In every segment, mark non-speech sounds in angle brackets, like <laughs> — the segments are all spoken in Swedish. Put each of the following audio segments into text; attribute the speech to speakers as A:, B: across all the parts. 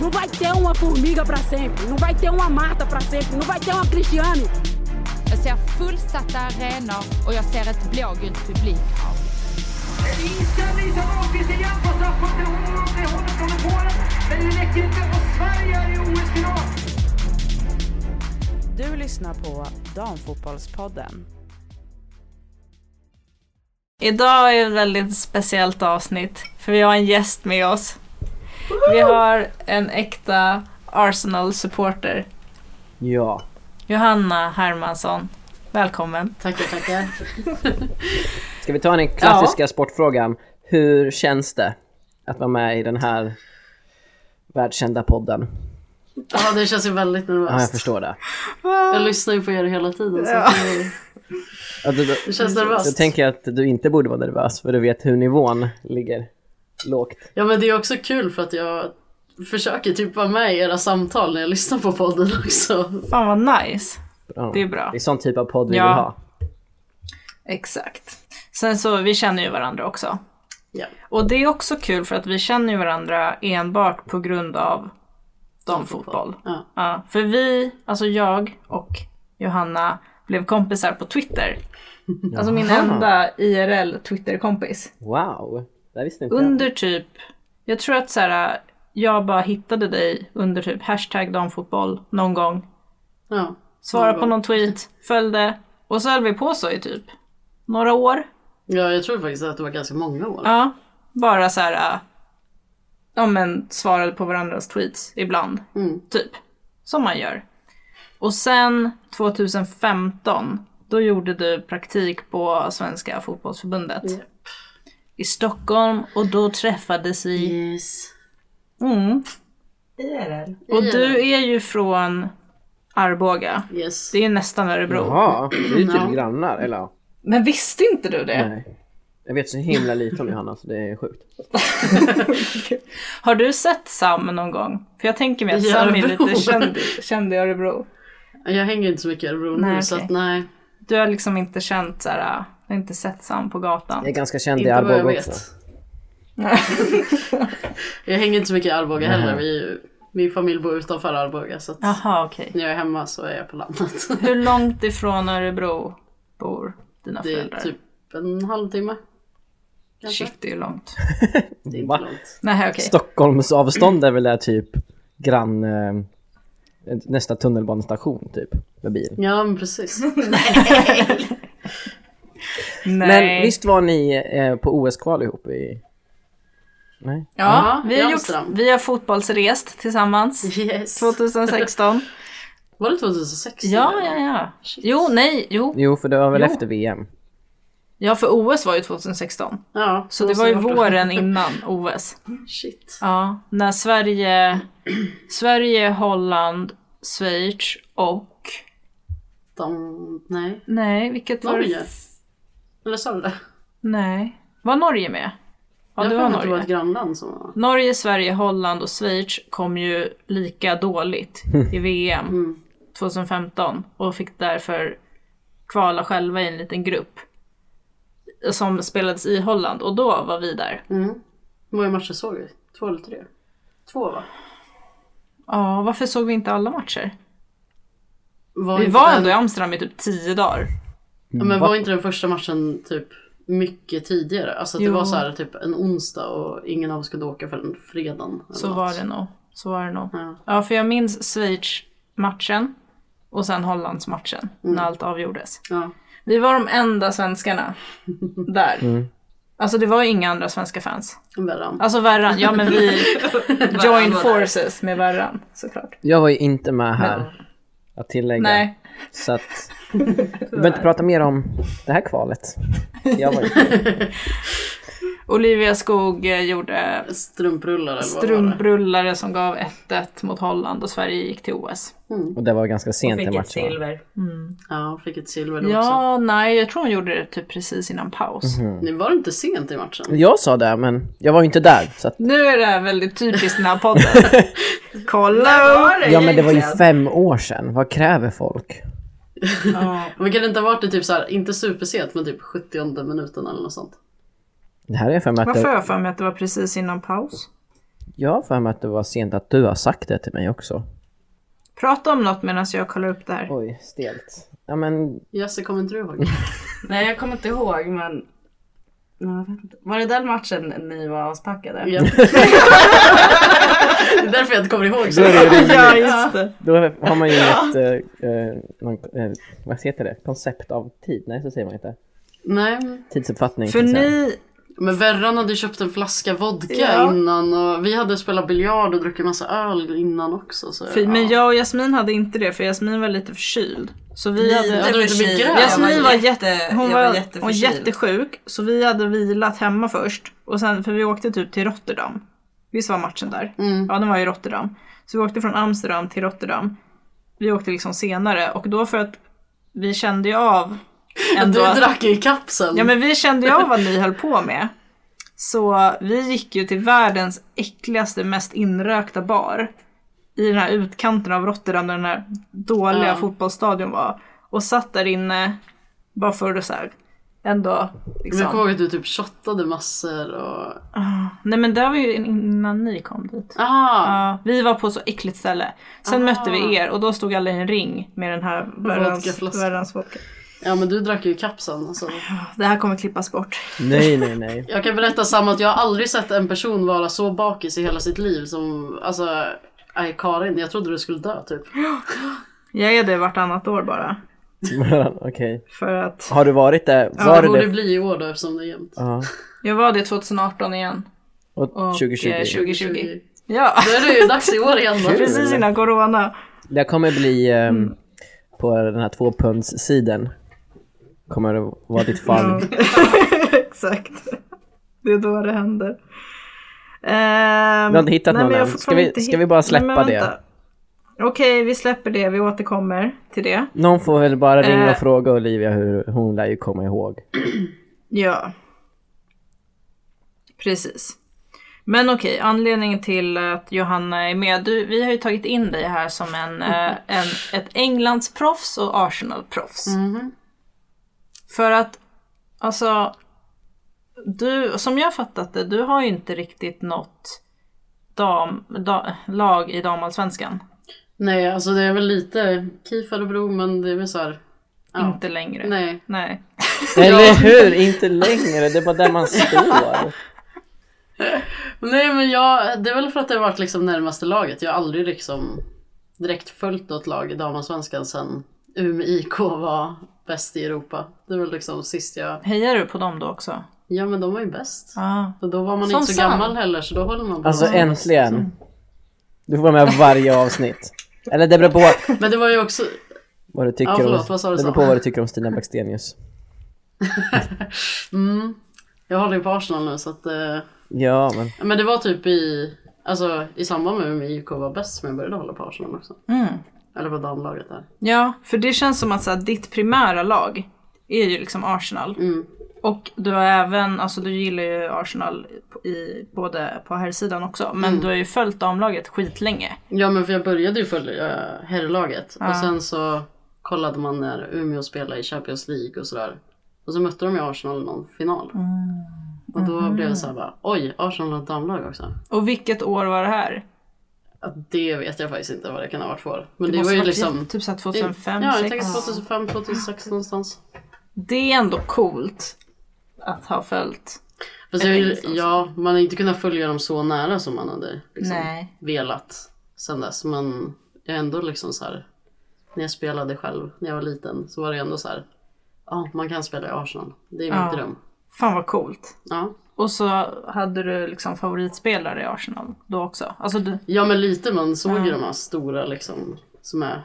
A: Não vai ter uma formiga para sempre, não vai ter uma Marta para sempre, não vai ter uma Cristiane.
B: Jag ser fullsatta arenor och jag ser ett blågult publikhav.
C: Inställning som Ahlqvist igen på straffpunkten. Hon håller från Polen, men det räcker inte. Och Sverige är i OS-final.
D: Du lyssnar på Damfotbollspodden.
E: Idag är ett väldigt speciellt avsnitt för vi har en gäst med oss. Vi har en äkta Arsenal-supporter.
F: Ja,
E: Johanna Hermansson. Välkommen.
G: Tackar, tackar.
F: ska vi ta den klassiska sportfrågan? Hur känns det att vara med i den här världskända podden?
G: Ja, det känns ju väldigt
F: Ja, jag
G: nervöst.
F: förstår det.
G: jag lyssnar ju på er hela tiden. Så att det-
F: Ja, du-
G: det känns nervöst.
F: Då tänker jag att du inte borde vara nervös, för du vet hur nivån ligger lågt.
G: Ja, men det är också kul för att jag försöker typ vara med i era samtal när jag lyssnar på podden också.
E: Fan vad nice.
F: Bra.
E: Det är bra.
F: Det är sån typ av podd vi
E: Ja.
F: vill ha.
E: Exakt. Sen så, vi känner ju varandra också.
G: Ja.
E: Och det är också kul för att vi känner ju varandra enbart på grund av damfotboll.
G: Ja.
E: Ja, för vi, alltså jag och Johanna blev kompisar på Twitter. Alltså min
F: Jaha.
E: enda IRL Twitter-kompis.
F: Wow, det här visste inte jag.
E: Under typ, jag tror att så här, jag bara hittade dig under typ hashtag damfotboll någon gång.
G: Ja.
E: Svara
G: Någon
E: på
G: gång.
E: någon tweet, följde och så höll vi på så i typ några år.
G: ja, jag tror faktiskt att det var ganska många år.
E: Ja, bara så här. äh, Ja men svarade på varandras tweets ibland.
G: Mm.
E: Typ. Som man gör. Och sen 2015, då gjorde du praktik på Svenska Fotbollsförbundet. I Stockholm och då träffades vi.
G: Yes.
E: Mm. Och
G: IRL.
E: du är ju från Arboga.
G: Yes.
E: Det är nästan Örebro.
F: Jaha, vi är ju
G: Ja.
F: typ grannar, eller ja.
E: Men visste inte du det?
F: Nej. Jag vet så himla lite om Johanna, så det är sjukt.
E: Har du sett Sam någon gång? För jag tänker mig att
G: I
E: Sam är
G: Örebro.
E: lite känd, känd i Örebro.
G: Jag hänger inte så mycket i Örebro nu
E: Nej,
G: så
E: okej.
G: att nej.
E: Du har liksom inte känt så här, du har inte sett Sam på gatan.
F: Jag är ganska känd i
G: Inte vad jag
F: Arboga
G: vet.
F: också.
G: <laughs> jag hänger inte så mycket i Arboga heller.
F: Nej.
G: Vi, är ju- min familj bor utanför Arboga så att
E: Jaha, okej.
G: när jag är hemma så är jag på landet.
E: <laughs> Hur långt ifrån Örebro bor dina
G: Det är
E: föräldrar?
G: typ en halvtimme. kanske.
E: Shit, det är långt.
G: Det är inte
F: Va?
G: långt.
E: Nej, okej.
F: Stockholmsavstånd är väl där typ grann... Eh, nästa tunnelbanestation typ, med bil.
G: Ja men
E: <laughs>
G: precis.
E: Nej.
F: Men visst var ni eh, på OS-kval ihop i... Nej?
E: Ja,
G: Ja,
E: vi, har
G: i
E: gjort,
G: Amsterdam.
E: vi har fotbollsrest tillsammans.
G: Yes.
E: 2016.
G: Var det 2016?
E: Ja, ja, ja. Jo, nej, jo.
F: Jo, för det var väl
E: Jo.
F: efter VM?
E: Ja, för OS var ju 2016.
G: ja
E: Så det var ju
G: snart.
E: våren innan OS.
G: <laughs> Shit.
E: Ja, när Sverige, Sverige, Holland, Schweiz och...
G: De... Nej.
E: Nej, vilket var
G: Norge.
E: det?
G: Eller sa du det?
E: Nej. Var Norge med? Ja,
G: jag
E: det
G: har
E: var
G: för mig att Det var
E: Norge.
G: ett grannland som var...
E: Norge, Sverige, Holland och Schweiz kom ju lika dåligt i VM
G: Mm.
E: 2015 och fick därför kvala själva i en liten grupp som spelades i Holland och då var vi där.
G: Mm. Hur många matcher såg vi? Två eller tre? Två va?
E: Ja, varför såg vi inte alla matcher?
G: Var
E: Vi
G: inte
E: var
G: den-
E: ändå Mm, i Amsterdam i typ tio dagar.
G: Ja, Men
F: Va?
G: var inte den första matchen typ mycket tidigare? Alltså att
E: Jo.
G: det var så här typ en onsdag och ingen av oss kunde åka förrän fredagen. eller
E: Så
G: något.
E: var det nog. Så var det nog.
G: Ja.
E: Ja, för jag minns Schweiz-matchen och sen Hollands-matchen
G: Mm.
E: när allt avgjordes.
G: Ja.
E: Vi var de enda
G: <laughs>
E: svenskarna där. Alltså det var ju inga andra svenska fans.
G: Värran.
E: Alltså Värran, ja men
H: <laughs>
E: vi joined forces med Värran såklart.
F: Jag var ju inte med här, att tillägga.
E: Nej, <laughs>
F: Så att... Vi behöver inte prata mer om det här kvalet. Jag var ju...
E: Olivia Skog eh, gjorde
G: Strumprullar eller vad var
E: strumprullare som gav 1-1 mot Holland och Sverige gick till OS.
F: Och det var ganska sent i
H: Fick ett
F: matchen. va?
H: silver.
G: det? Ja, hon fick ett silver då också.
E: Ja, nej, jag tror hon gjorde det typ precis innan paus.
F: Mhm.
G: Nu var det inte sent i matchen.
F: Jag sa det, men jag var ju inte där. Så att...
E: Nu är det här väldigt typiskt den här
F: <laughs>
E: podden. Kolla upp!
F: Ja, men det var ju fem år sedan. Vad kräver folk?
G: Men kan det inte ha varit det typ så här, inte supersent men typ 70 minuten eller något sånt?
F: Det här är för mig att
E: Varför har
F: det...
E: jag för mig att det var precis innan paus?
F: Jag har för mig att det var sent att du har sagt det till mig också.
E: Prata om något medan jag kollar upp det här.
F: Oj, stelt. Ja men,
G: Jösse, kommer inte
E: <laughs>
G: du ihåg?
H: Nej jag kommer inte ihåg men... Nej, jag vet inte. Var det den matchen ni var aspackade?
G: Ja. det är därför jag inte kommer ihåg. Så.
F: då, är det ju-
E: Ja, just det.
F: då har man ju ett, eh, eh, någon, eh, vad heter det, koncept av tid? Nej, så säger man inte.
G: Nej, men-
F: Tidsuppfattning.
E: För
F: kan jag säga.
E: ni,
G: men Verran hade ju köpt en flaska vodka
E: Ja.
G: innan och vi hade spelat biljard och druckit massa öl innan också. Så,
E: för,
G: ja.
E: men jag och Jasmin hade inte det för Jasmin var lite förkyld. Så vi hade...
G: hade- hade inte mycket där.
E: Jasmin var jätte, typ- hon
H: jag
E: var,
H: var
E: hon var
H: jätteförkyld.
E: jättesjuk så vi hade vilat hemma först. Och sen, för vi åkte typ till Rotterdam. Visst var matchen där? Ja, den var i Rotterdam. Så vi åkte från Amsterdam till Rotterdam. Vi åkte liksom senare och då för att vi kände ju <laughs> av ändå
G: Du
E: att-
G: drack ju i kapseln.
E: Ja men vi kände ju av vad ni höll på med. Så vi gick ju till världens äckligaste, mest inrökta bar. I den här utkanten av Rotterdam där den här dåliga
G: Ja.
E: fotbollsstadion var. Och satt där inne, bara för att så här, ändå
G: Men jag kommer
E: liksom. Ah,
G: ihåg att du typ shottade massor och...
E: Nej men det var ju innan ni kom dit.
G: Aha,
E: Ja, vi var på så äckligt ställe.
G: Ah.
E: Sen mötte vi er och då stod alla i en ring med den här världens,
G: Vodkaflaskan.
E: världens vodka.
G: ja men du drack ju i kapseln. Alltså.
E: Det här kommer klippas bort.
F: Nej, nej,
E: <laughs>
F: nej.
G: Jag kan berätta samma att jag har aldrig sett en person vara så bakis i hela sitt liv som, alltså, nej Karin, jag trodde du skulle dö typ.
E: Jag är det vartannat år bara.
F: Okej.
E: För att
F: Har du varit där?
E: Ja,
F: Var
G: Det
F: du
G: borde
F: det?
G: bli i år då eftersom det är jämnt.
F: Ja.
E: jag var det 2018 igen.
F: Och
E: Och,
F: 2020.
E: eh, 2020.
G: 20.
E: Ja,
G: Då är det ju dags i år igen då.
E: precis innan corona.
F: Det kommer bli ehm,
E: Mm.
F: på den här tvåpundssidan. Kommer det vara ditt fall.
E: <laughs> Exakt. Det är då det händer. Ehm,
F: Du har inte hittat
E: nej,
F: någon
E: men jag
F: än.
E: får
F: Ska vi-
E: inte
F: ska vi
E: hit-
F: bara släppa
E: Nej, men vänta. Okej, vi släpper det. Vi återkommer till det.
F: Någon får väl bara ringa
E: Eh.
F: och fråga Olivia hur hon lär ju komma ihåg.
E: Ja. Precis. Men okej, anledningen till att Johanna är med. Du, vi har ju tagit in dig här som en, eh,
G: <laughs>
E: en, ett Englandsproffs och Arsenalproffs.
G: Mhm.
E: För att, alltså, du, som jag fattat det, du har ju inte riktigt något dam, da, lag i damallsvenskan.
G: Nej, alltså det är väl lite KIF Örebro men det är väl såhär, Ja.
E: Inte längre.
G: nej.
E: Nej.
F: Eller hur? Inte längre. Det är bara där man står.
G: Nej men jag, det är väl för att det har varit liksom närmaste laget. Jag har aldrig liksom direkt följt något lag i damallsvenskan sen Umeå IK var bäst i Europa. Det var liksom sist jag,
E: Hejar du på dem då också?
G: ja men de var ju bäst.
E: Ja.
G: Och då var man
E: Som
G: inte så
E: Sam.
G: gammal heller så då håller man på.
F: Alltså
G: med sånt.
F: äntligen. Du får vara med varje avsnitt. Eller det beror på
G: Mm. Men det var ju också, <laughs>
F: vad du tycker,
G: Ja, förlåt,
F: om,
G: vad sa du
F: det beror
G: så?
F: på vad du tycker om Stina Blackstenius.
G: Mm. jag håller ju på Arsenal nu så att eh,
F: Ja, men
G: Men det var typ i, alltså i samband med att IK var bäst som jag började hålla på Arsenal också.
E: Mm.
G: Eller på damlaget där.
E: Ja, för det känns som att så här, ditt primära lag är ju liksom Arsenal.
G: Mm.
E: Och du har även, alltså du gillar ju Arsenal i, både på här sidan också, men
G: Mm.
E: du har ju följt damlaget skitlänge.
G: Ja men för jag började ju följa eh, herrlaget och sen så kollade man när Umeå spelade i Champions League och sådär. Och så mötte de ju Arsenal i någon final.
E: Mm.
G: Och då blev det såhär bara, oj Arsenal har ett damlag också.
E: Och vilket år var det här?
G: Ja, Det vet jag faktiskt inte vad det kan ha varit för. Men
E: Det,
G: det,
E: måste
G: var ju
E: varit
G: liksom...
E: typ så här 2005,
G: ja, jag
E: 2006.
G: tänker 2005, 2006 någonstans.
E: Det är ändå coolt att ha följt.
G: Fast jag, vill-
E: tänker så.
G: ja, man har inte kunnat följa dem så nära som man hade liksom,
E: Nej.
G: velat sen dess. Men jag är ändå liksom så här. När jag spelade själv när jag var liten så var det ändå så här. Ja, man kan spela i Arsenal. Det är
E: Ja.
G: min dröm.
E: Fan vad coolt.
G: Ja.
E: Och så hade du liksom favoritspelare i Arsenal då också. Alltså du,
G: ja, men lite. Man såg ju de här stora liksom som är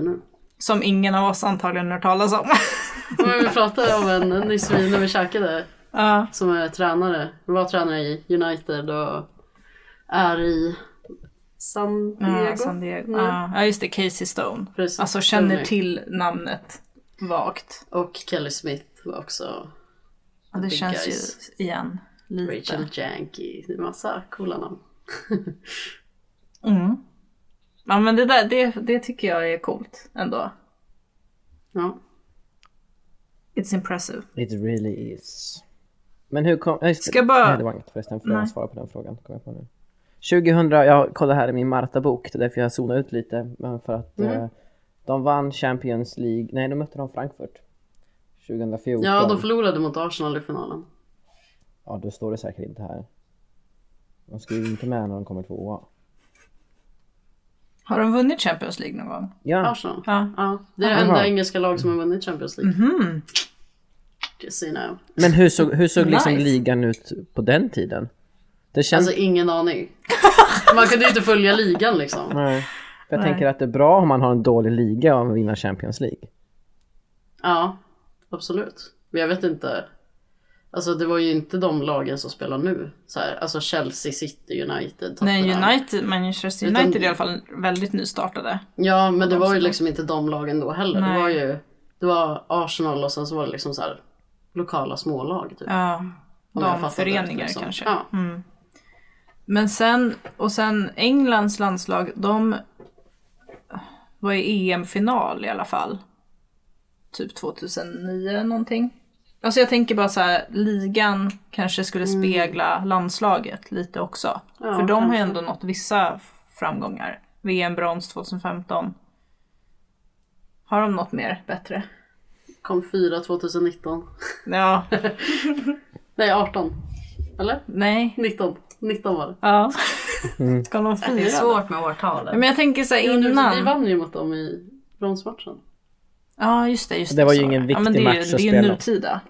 E: <laughs>
G: nu.
E: som ingen av oss antagligen hört talas om. <laughs>
G: Men vi pratade om en nyss vi, när vi käkade
E: Ja.
G: som är tränare. Var tränare i United och är i San Diego.
E: Ja, San Diego. Ja. ja, just det. Casey Stone.
G: Precis.
E: Alltså känner
G: Stämmer.
E: till namnet vagt.
G: Och Kelly Smith var också
E: Ja, det
G: Big
E: känns
G: guys.
E: ju igen lite.
G: Rachel Janky. Det är massa coola namn.
E: Mm. Ja men det där, det, det tycker jag är coolt ändå.
G: Ja.
E: It's impressive.
F: it really is. Men hur kom... Nej, just det.
E: Ska jag bara-
F: Nej, det var inget förresten. För
E: Nej.
F: att svara på den frågan. Kom jag på nu. 2000, jag kollar här i min Marta-bok, det är därför jag zonar ut lite. men För att
G: Mm.
F: eh, de vann Champions League, nej de mötte de Frankfurt. 2014.
G: Ja, de förlorade mot Arsenal i finalen.
F: Ja, då står det säkert inte här. De skriver inte med när de kommer tvåa.
E: Har de vunnit Champions League någon gång?
F: Ja,
G: Arsenal.
E: Ja.
G: Ja, det är det
F: Aha.
G: enda engelska lag som har vunnit Champions League.
E: Mhm.
G: Just so you know.
F: men hur såg, hur såg liksom
E: Nice.
F: ligan ut på den tiden? Det känns...
G: Alltså ingen aning. Man kunde ju inte följa ligan liksom.
F: nej. För jag tänker att det är bra om man har en dålig liga och vinner Champions League.
G: Ja, absolut. Men jag vet inte. Alltså det var ju inte de lagen som spelar nu. Så här, alltså Chelsea, City, United.
E: Nej,
G: Tottenham.
E: United, Manchester
G: Utan-
E: United är i alla fall väldigt nystartade.
G: Ja, men det var ju liksom inte de lagen då heller.
E: Nej.
G: Det var ju det var Arsenal och sen så var det liksom så här lokala smålag typ.
E: Ja,
G: Om jag fattar rätt,
E: damföreningar
G: liksom.
E: kanske.
G: Ja.
E: Mm. Men sen, och sen Englands landslag, de var i EM-final i alla fall. Typ 2009 någonting. Alltså jag tänker bara så här, ligan kanske skulle
G: Mm.
E: spegla landslaget lite också. För de har ju ändå nått vissa framgångar. VM-brons 2015. Har de något mer bättre?
G: Kom fyra 2019.
E: Ja,
G: <laughs> Nej, 18. Eller?
E: nej.
G: 19. 19 var det.
E: Ja. <laughs>
F: Mm.
E: Ska de fira?
I: Det är
E: då?
I: svårt med årtalen.
E: Ja, Men jag tänker så här
G: Ja, nu- Vi
E: innan.
G: vann ju mot dem i bronsmatchen.
E: Ja just det, just det.
F: Det var ju
E: så
F: ingen
E: ja, men
F: viktig
E: det är ju-
F: match att
E: Det är ju
F: spela.
E: nutida.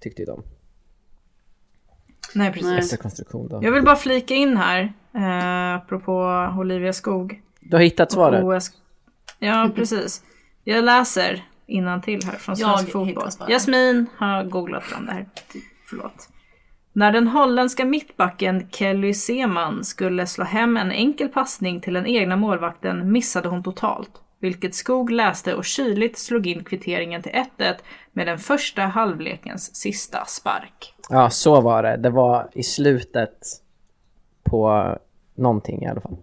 F: Tyckte ju de.
E: Nej precis.
G: Nej.
F: Bästa konstruktion då.
E: Jag vill bara flika in här, eh, apropå Olivia Skog.
F: Du har hittat svaret?
E: OS.
F: <laughs>
E: Ja precis. Jag läser till här från
I: Jag
E: Svensk Fotboll.
I: hittar svaret.
E: Jasmin har googlat fram det här. Förlåt. När den holländska mittbacken Kelly Seman skulle slå hem en enkel passning till den egna målvakten missade hon totalt. Vilket Skog läste och kyligt slog in kvitteringen till 1-1 med den första halvlekens sista
F: <laughs>
E: spark.
F: Ja, så var det. Det var i slutet på någonting i alla fall.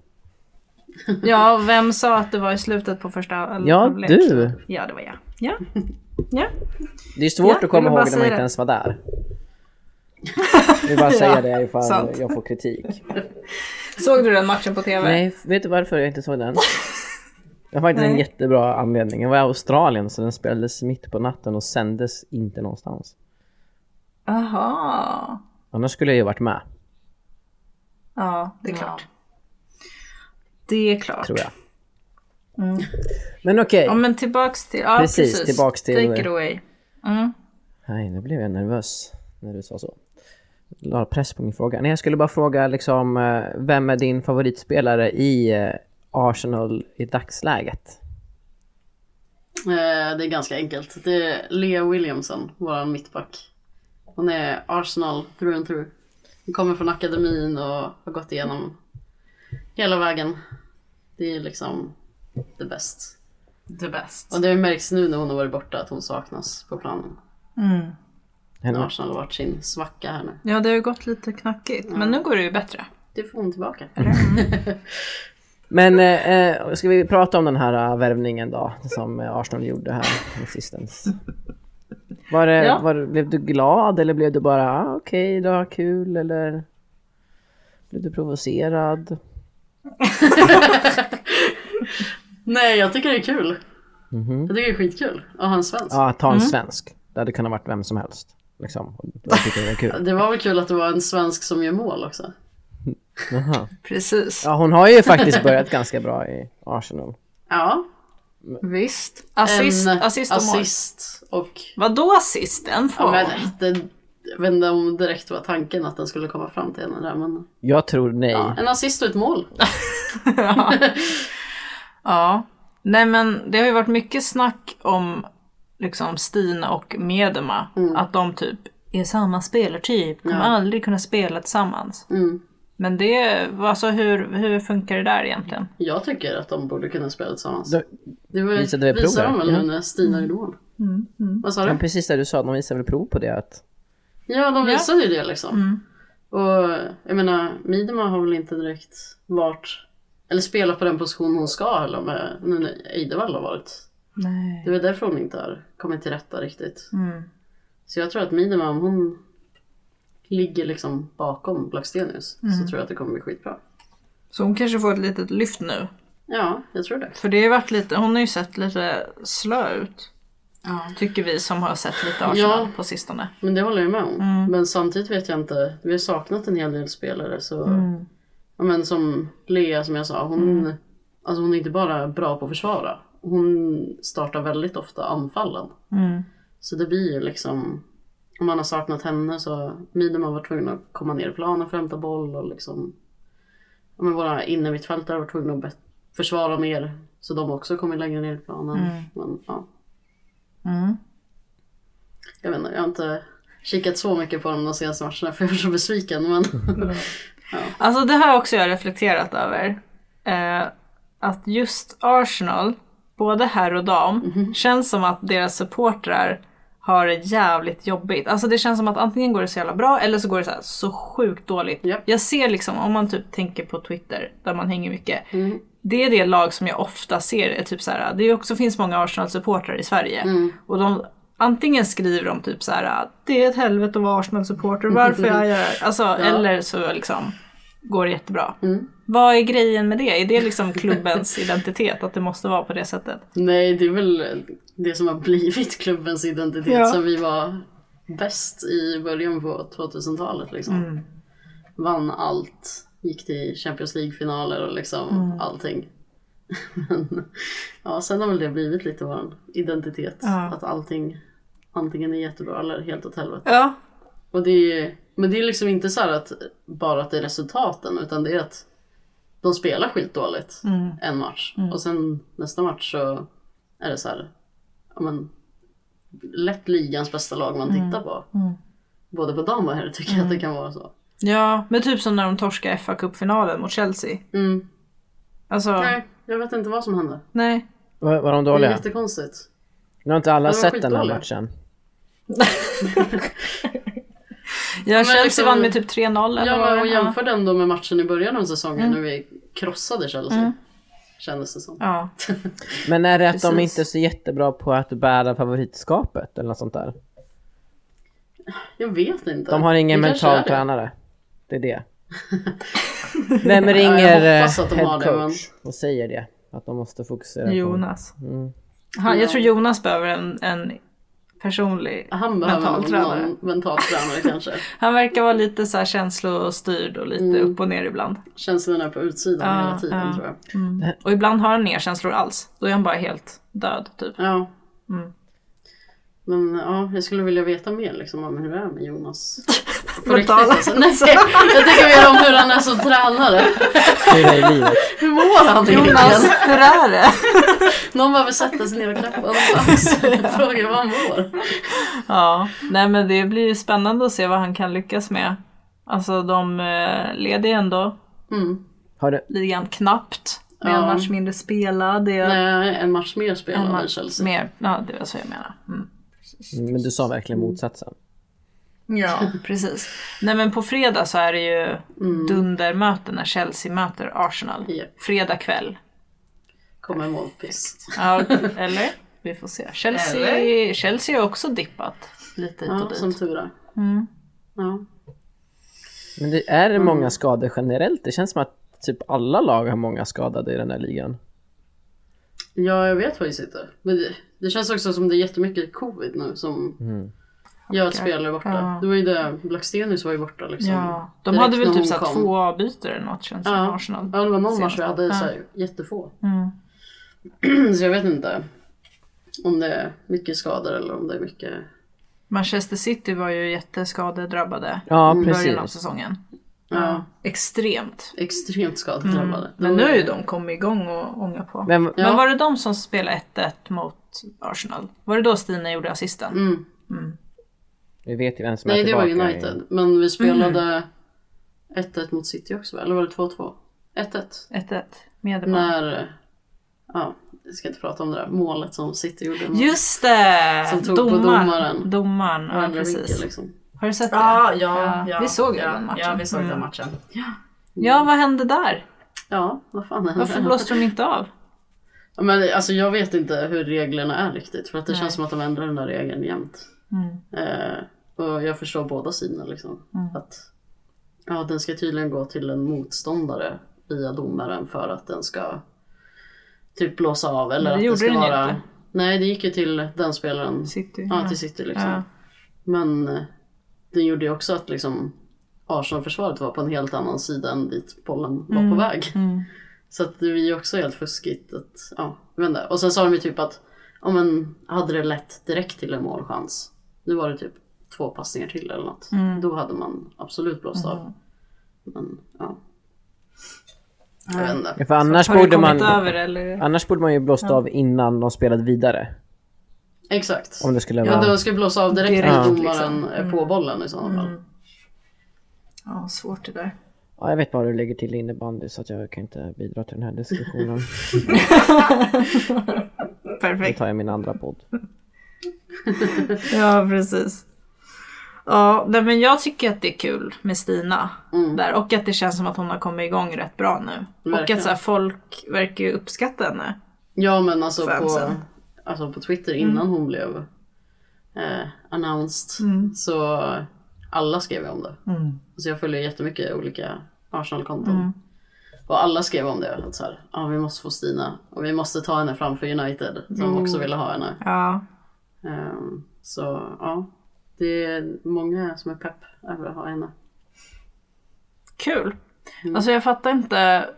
E: Ja, och vem sa att det var i slutet på första halv-
F: Ja,
E: halvlek?
F: du.
E: Ja, det var jag. Ja. ja.
F: Det är svårt
E: Ja,
F: att komma
E: jag vill bara
F: ihåg när man
E: säga
F: inte
E: det.
F: ens
E: <laughs>
F: var där. Jag vill bara säga det ifall
E: sant.
F: jag får kritik.
E: Såg du den matchen på TV?
F: Nej, vet du varför jag inte såg den? Jag har faktiskt en jättebra anledning. Jag var i Australien så den spelades mitt på natten och sändes inte någonstans.
E: Aha.
F: Annars skulle jag ju varit med,
E: Ja, det är klart. Det är klart.
F: tror jag. Men okej.
E: Ja, men tillbaks till... Ja,
F: Precis,
E: precis,
F: tillbaks till-
E: Take it away.
F: Nej, nu blev jag nervös när du sa så. La press på min fråga. Nej, jag skulle bara fråga liksom, eh, vem är din favoritspelare i eh, Arsenal i dagsläget?
G: Eh, Det är ganska enkelt. Det är Lea Williamson, våran mittback. Hon är Arsenal through and through. Hon kommer från akademin och har gått igenom hela vägen. Det är liksom the best.
I: The best.
G: Och det märks nu när hon har varit borta att hon saknas på planen. När
F: Henne?
G: Arsenal har varit sin svacka här nu.
E: Ja, det har ju gått lite knackigt, men nu går det ju bättre.
G: Det får hon tillbaka.
F: Mm. Men eh, eh, ska vi prata om den här eh, värvningen då, som eh, Arsenal gjorde här med sistens? Var det,
E: Ja.
F: var, blev du glad eller blev du bara ah, okej, det var kul eller blev du provocerad?
G: Nej, jag tycker det är kul. Jag tycker det är skitkul att ha en svensk.
F: Mhm. Ja, ta en svensk. Det hade kunnat varit vem som helst. Liksom. Och Jag <laughs> tyckte det var kul.
G: Det var väl kul att det var en svensk som gör mål också.
F: Jaha.
E: Precis.
F: Ja, hon har ju faktiskt börjat ganska bra i Arsenal.
G: Ja,
E: Visst. Assist,
G: en
E: assist och mål.
G: assist och
E: Vadå assist? En
G: Ja,
E: form?
G: men det, jag vet inte om direkt var tanken att den skulle komma fram till henne där, men
F: Jag tror nej.
G: ja, en assist och ett mål.
E: Ja. Nej men det har ju varit mycket snack om liksom Stina och Medema. Att de typ är samma spelartyp. Kommer aldrig kunna spela tillsammans.
G: Mm.
E: Men det, alltså hur, hur funkar det där egentligen?
G: Jag tycker att de borde kunna spela tillsammans.
F: Då-
G: Det var,
F: visade vi prov
G: visar
F: där?
G: de väl
F: Ja.
G: nu när Stina
E: Mm.
G: gjorde mål? Vad sa
F: Men
G: du?
F: precis det du sa, de visar väl prov på det att...
G: Ja, de visade ju det liksom.
E: Mm.
G: Och jag menar, Midema har väl inte direkt varit, eller spelat på den position hon ska eller med, nu när Eidevall har varit.
E: Nej.
G: Det är väl därför hon inte har kommit till rätta riktigt.
E: Mm.
G: Så jag tror att Midema, om hon ligger liksom bakom Blackstenius, så tror jag att det kommer bli skitbra.
E: Så hon kanske får ett litet lyft nu.
G: Ja, jag tror det.
E: För det har ju varit lite, hon har ju sett lite slö ut.
H: Ja.
E: Tycker vi som har sett lite Arsenal
G: Ja.
E: på sistone.
G: Men det håller jag med om. Men samtidigt vet jag inte. Vi har saknat en hel del spelare. Så... Ja, men som Lea som jag sa, hon, alltså hon är inte bara bra på att försvara. Hon startar väldigt ofta anfallen. Så det blir ju liksom, om man har saknat henne så Midemar var tvungen att komma ner i planen för att hämta boll och liksom, ja, men våra innermittfältare var tvungna att bet- försvara mer. Så de också kommer längre ner i planen. Men, ja. Jag vet inte, jag har inte kikat så mycket på dem de senaste matcherna för jag är så besviken. Men
E: Alltså det här också jag reflekterat över. Eh, att just Arsenal, både herr och dam, känns som att deras supportrar har det jävligt jobbigt. Alltså det känns som att antingen går det så jävla bra eller så går det så, här, så sjukt dåligt.
G: Japp.
E: Jag ser liksom, om man typ tänker på Twitter där man hänger mycket.
G: Mm.
E: Det är det lag som jag ofta ser är typ så här. det är också finns många Arsenal-supportrar i Sverige. Och de, antingen skriver de typ så här. det är ett helvete att vara Arsenal-supporter, varför jag gör det? Alltså, Eller så liksom går det jättebra.
G: Mm.
E: Vad är grejen med det? Är det liksom klubbens
G: <laughs>
E: identitet att det måste vara på det sättet?
G: <laughs> Nej, det är väl det som har blivit klubbens identitet
E: Ja.
G: som vi var bäst i början på 2000-talet. Liksom. Vann allt, gick till Champions League-finaler och liksom allting. <laughs> Men ja, sen har väl det blivit lite vår identitet. Att allting antingen är jättebra eller helt åt helvete.
E: Ja.
G: Och det är, men det är liksom inte så här att bara att det är resultaten utan det är att de spelar skitdåligt en match och sen nästa match så är det så här, ja men lätt ligans bästa lag man tittar på. Både på dam och herr tycker jag att det kan vara så.
E: ja, men typ som när de torskade fa Cup-finalen mot Chelsea.
G: Mm.
E: Alltså, nej.
G: Nej, jag vet inte vad som hände.
F: Var, var de
G: Det är
F: dåliga?
G: jättekonstigt.
F: Nu har inte alla
G: de var
F: sett den här
G: skitdåliga.
F: matchen.
E: Ja, Chelsea
G: liksom-
E: vann med typ 3-0 eller vad
G: Ja, Mm.
E: det
G: och
E: var.
G: jämför den då med matchen i början av säsongen när vi krossade Chelsea. Kändes det som.
E: Ja.
F: Men är det att de
G: Precis.
F: inte är så jättebra på att bära favoritskapet eller något sånt där?
G: Jag vet inte.
F: De har ingen
G: Det kanske är
F: mental
G: det.
F: tränare. Det är
G: <laughs>
F: det. Vem
G: Ja, jag
F: ringer eh,
G: hoppas att de har det,
F: headcoach och säger det? Att de måste fokusera på...
E: Jonas. Han, jag tror Jonas behöver en, en personlig...
G: Han behöver
E: Mental
G: någon
E: tränare.
G: mental
E: <laughs>
G: tränare kanske.
E: Han verkar vara lite så här känslostyrd och lite
G: Mm.
E: upp och ner ibland.
G: Känslorna på utsidan
E: Ja,
G: hela tiden
E: ja.
G: tror jag.
E: Och ibland har han inga känslor alls. Då är han bara helt död typ.
G: Ja. Men ja, jag skulle vilja veta mer liksom, om hur det är
E: <laughs>
G: med Jonas. På riktigt,
E: Mentala.
G: alltså. Nej, jag tänker mer om hur han är som tränare.
F: Hur är livet?
G: Hur mår han egentligen?
E: Jonas, Alltså, hur är det?
G: Någon behöver sätta sig ner och
E: <laughs>
G: klappa honom på axeln och fråga vad han mår.
E: Ja, nej men det blir ju spännande att se vad han kan lyckas med. Alltså de eh, leder ju ändå
G: Mm.
F: Har du...
E: ligan knappt. Med en
G: Ja.
E: match mindre spelad. Det är
G: Nej, Eh, en match mer
E: en
G: spelar än
E: match
G: Chelsea.
E: mer. Ja, det var så jag menade. Mm.
F: Men du sa
G: Mm.
F: verkligen motsatsen.
E: Ja, <laughs> precis. Nej men på fredag så är det ju
G: Mm.
E: dundermöte när Chelsea möter Arsenal.
G: Japp.
E: Fredag kväll.
G: Kommer målpiss. <laughs>
E: Ja, eller? Vi får se. Chelsea, Chelsea har också dippat lite hit och
G: Ja,
E: dit.
G: som tur är.
E: Mm.
G: Ja.
F: Men det är det
G: Mm.
F: många skador generellt. Det känns som att typ alla lag har många skadade i den här ligan.
G: Ja, jag vet faktiskt inte. Men det, det känns också som det är jättemycket covid nu som gör att spelare är borta.
E: Ja.
G: Det var ju det, Blackstenius var ju borta liksom.
E: Ja, de
G: direkt
E: hade väl
G: när
E: typ
G: hon
E: såhär
G: kom.
E: två avbytare eller något känns det som
G: Ja.
E: Arsenal.
G: ja, det var någon match
E: Senast.
G: vi hade
E: Ja.
G: så här, jättefå.
E: Mm.
G: <clears throat> så jag vet inte om det är mycket skador eller om det är mycket. <laughs>
E: Manchester City var ju jätteskadedrabbade
F: Ja,
G: Mm,
E: i
F: precis.
E: början av säsongen.
G: Ja,
E: Extremt.
G: extremt skadedrabbade.
E: Mm. Men
H: Mm.
E: nu är ju de kommit igång och ångar på. Men,
F: Men,
G: Ja.
E: var det de som spelade 1-1 mot Arsenal? Var det då Stina gjorde assisten?
G: Mm.
F: vi vet ju vem som är
G: Nej, det var
F: tillbaka.
G: United. Men vi
E: Mm.
G: spelade 1-1 mot City också, eller var det 2-2? 1-1.
E: 1-1 med Nej.
G: När, ja, jag ska inte prata om det där målet som City gjorde. mot-
E: Just det!
G: Som tog på domaren.
E: Domaren, ja,
G: Andra vinkel,
E: precis.
G: liksom.
E: Har du sett det?
H: Ja, ja, ja.
E: Vi såg ju
H: ja,
E: den matchen.
H: Ja, vi såg
E: Mm.
H: den matchen.
E: Ja, vad hände där?
G: Ja, vad fan är
E: Varför
G: det?
E: blåste de inte av?
G: Ja, Men alltså jag vet inte hur reglerna är riktigt för att det
E: Nej.
G: känns som att de ändrar den där regeln jämt.
E: Mm.
G: Eh, och jag förstår båda sidorna liksom. Att, ja, den ska tydligen gå till en motståndare via domaren för att den ska typ blåsa av. Eller
E: Men det
G: att
E: gjorde
G: det ska
E: den ju
G: vara...
E: inte.
G: Nej, det gick ju till den spelaren.
E: City.
G: Ja, till City liksom.
E: Ja.
G: Men eh, den gjorde ju också att liksom Arsenal-försvaret var på en helt annan sida än dit bollen var
E: Mm.
G: på väg. Så att det är ju också helt fuskigt. Att, ja, jag vet inte. Och sen sa de ju typ att ja, men, hade det lett direkt till en målchans. Nu var det typ två passningar till eller något. Då hade man absolut blåst av. Men ja. Jag vet inte.
F: Ja, för annars
E: Har du
F: borde,
E: kommit
F: man,
E: över eller?
F: annars borde man ju blåst av innan de spelade vidare.
G: Exakt.
F: Om det skulle
G: Ja,
F: vara...
G: de ska blåsa av direkt
E: Direkt,
G: när domaren
E: liksom.
G: är på bollen i sådana fall.
E: Ja, svårt det där.
F: Ja, jag vet bara hur du lägger till innebandy så att jag kan inte bidra till den här diskussionen. Då
E: Perfekt.
F: tar jag min andra podd.
E: Ja, precis. Ja, nej, men jag tycker att det är kul med Stina där och att det känns som att hon har kommit igång rätt bra nu. Och
G: Verkligen.
E: att så här, folk verkar ju uppskatta henne.
G: Ja men alltså på,
E: Fansen.
G: alltså på Twitter innan
F: Mm.
G: hon blev eh, announced
F: Mm.
G: så alla skrev ju om det. Så jag följer jättemycket olika Arsenal-konton.
F: Mm.
G: Och alla skrev om det. Att så här, ah, vi måste få Stina och vi måste ta henne framför United
F: Mm.
G: som också ville ha henne.
E: Ja,
G: Ehm, så ja, det är många som är pepp över att ha henne.
E: kul. Alltså jag fattar inte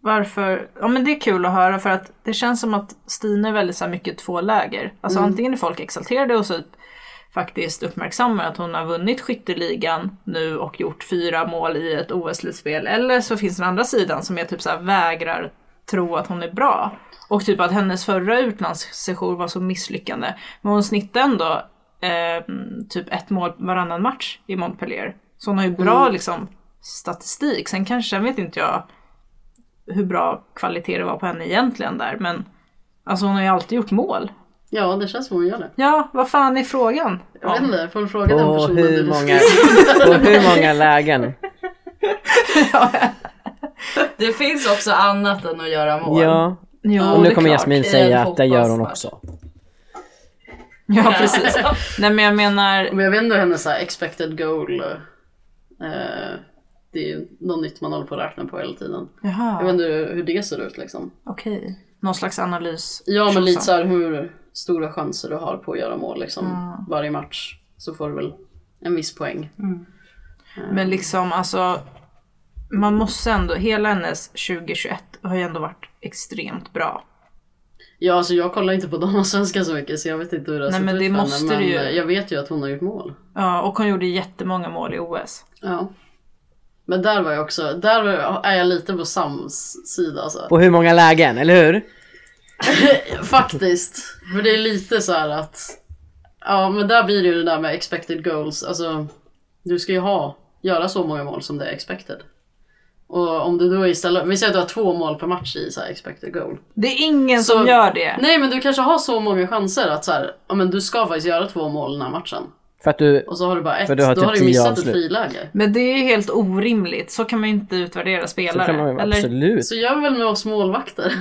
E: varför. Ja men det är kul att höra för att det känns som att Stina är väldigt så här, mycket två läger. Alltså antingen är folk exalterade och så faktiskt uppmärksammar att hon har vunnit skytteligan nu och gjort fyra mål i ett OS-slutspel. Eller så finns den andra sidan som är typ så här vägrar tro att hon är bra. Och typ att hennes förra utlandssession var så misslyckande. Men hon snittade ändå eh, typ ett mål varannan match i Montpellier. Så hon har ju bra
H: Mm.
E: liksom statistik. Sen kanske, sen vet inte jag hur bra kvalitet det var på henne egentligen där. Men alltså hon har ju alltid gjort mål.
G: Ja, det känns som hon gör det.
E: Ja, vad fan är frågan?
G: Jag vet inte, får du fråga den
F: På
G: personen
F: hur,
G: du
F: många, på hur många lägen?
H: Det finns också annat än att göra mål.
F: Ja.
E: Jo,
F: Och
E: det
F: nu
E: är
F: kommer
E: klart.
F: Jasmin
H: I
F: säga
H: en
F: att det gör hon
H: fotbollsmatch.
F: också.
E: <laughs> Ja, precis. Nej men jag menar,
G: Men jag vet ändå hennes så här expected goal. Eh, det är ju något nytt man håller på att räkna på hela tiden. Jag vet
E: jaha,
G: inte hur det ser ut liksom.
E: okej. Någon slags analys.
G: Ja men lite
E: Tjosan.
G: såhär hur stora chanser du har på att göra mål liksom. Varje match så får du väl en viss poäng.
E: Men liksom alltså, man måste ändå, hela hennes 2021 har ju ändå varit extremt bra.
G: Ja alltså jag kollar inte på <laughs> damallsvenskan så mycket så jag vet inte hur det har
E: Nej,
G: sett
E: men
G: ut
E: det
G: för henne,
E: måste
G: men
E: du ju.
G: eh, jag vet ju att hon har gjort mål.
E: Ja, och hon gjorde jättemånga mål i OS.
G: Ja. Men där var jag också, där är jag lite på Sams sida alltså.
F: På hur många lägen, eller hur?
G: Faktiskt. För det är lite så här att... Ja, men där blir det ju det där med expected goals. Alltså, du ska ju ha, göra så många mål som det är expected. Och om du då istället, vi säger att du har två mål per match i så här expected goal.
E: Det är ingen
G: Så-
E: som gör det.
G: Nej, men du kanske har så många chanser att så här, ja men du ska faktiskt göra två mål den här matchen.
F: För att du...
G: Och så har du bara ett,
F: För du har
G: då
F: typ
G: har du
F: tio
G: missat
F: avslut.
G: ett friläge.
E: Men det är ju helt orimligt. Så kan man ju inte utvärdera
F: Så
E: spelare.
F: kan man ju
E: Eller-
F: absolut.
G: Så gör vi väl med oss målvakter.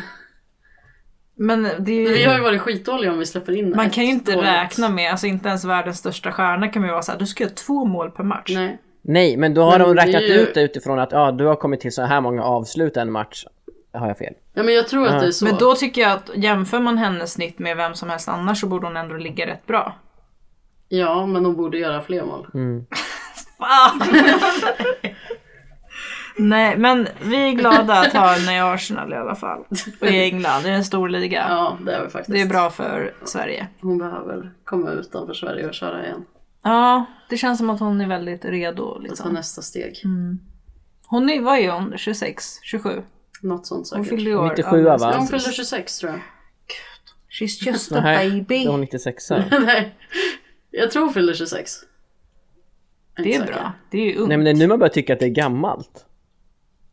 E: Men det är ju...
G: Vi har ju varit skitdåliga om vi släpper in
E: Man
G: ett
E: kan ju inte
G: dåligt.
E: räkna med, alltså inte ens världens största stjärna kan man ju vara såhär, du ska göra två mål per match.
G: Nej.
F: Nej, men då har
G: Men
F: de
G: det är
F: räknat
G: ju-
F: ut det utifrån att ja, du har kommit till så här många avslut en match. Har jag fel?
G: Ja, men jag tror att det är så.
E: Men då tycker jag att jämför man hennes snitt med vem som helst annars så borde hon ändå ligga rätt bra.
G: Ja, men de borde göra fler mål.
E: Fan! <laughs> Nej, men vi är glada att ha henne i Arsenal i alla fall. Och i England, det är en stor liga.
G: Ja, det är vi faktiskt.
E: Det är bra för Sverige.
G: Hon behöver komma utanför Sverige och köra igen.
E: Ja, det känns som att hon är väldigt redo.
G: Ta
E: Liksom.
G: nästa steg.
E: Hon är, vad är hon? 26? 27?
G: Något sånt
E: Hon
G: säkert.
E: fyllde i år.
F: 97
E: Ja,
F: va?
E: precis.
G: Ja, hon fyller 26 tror jag. <laughs>
E: She's just a
F: Nej,
E: baby.
F: då är hon 96
G: Nej, jag tror hon fyller 26. Jag
E: Det
G: inte
E: är
G: säker.
E: bra. Det är ju ungt.
F: Nej men det är nu man börjar tycka att det är gammalt.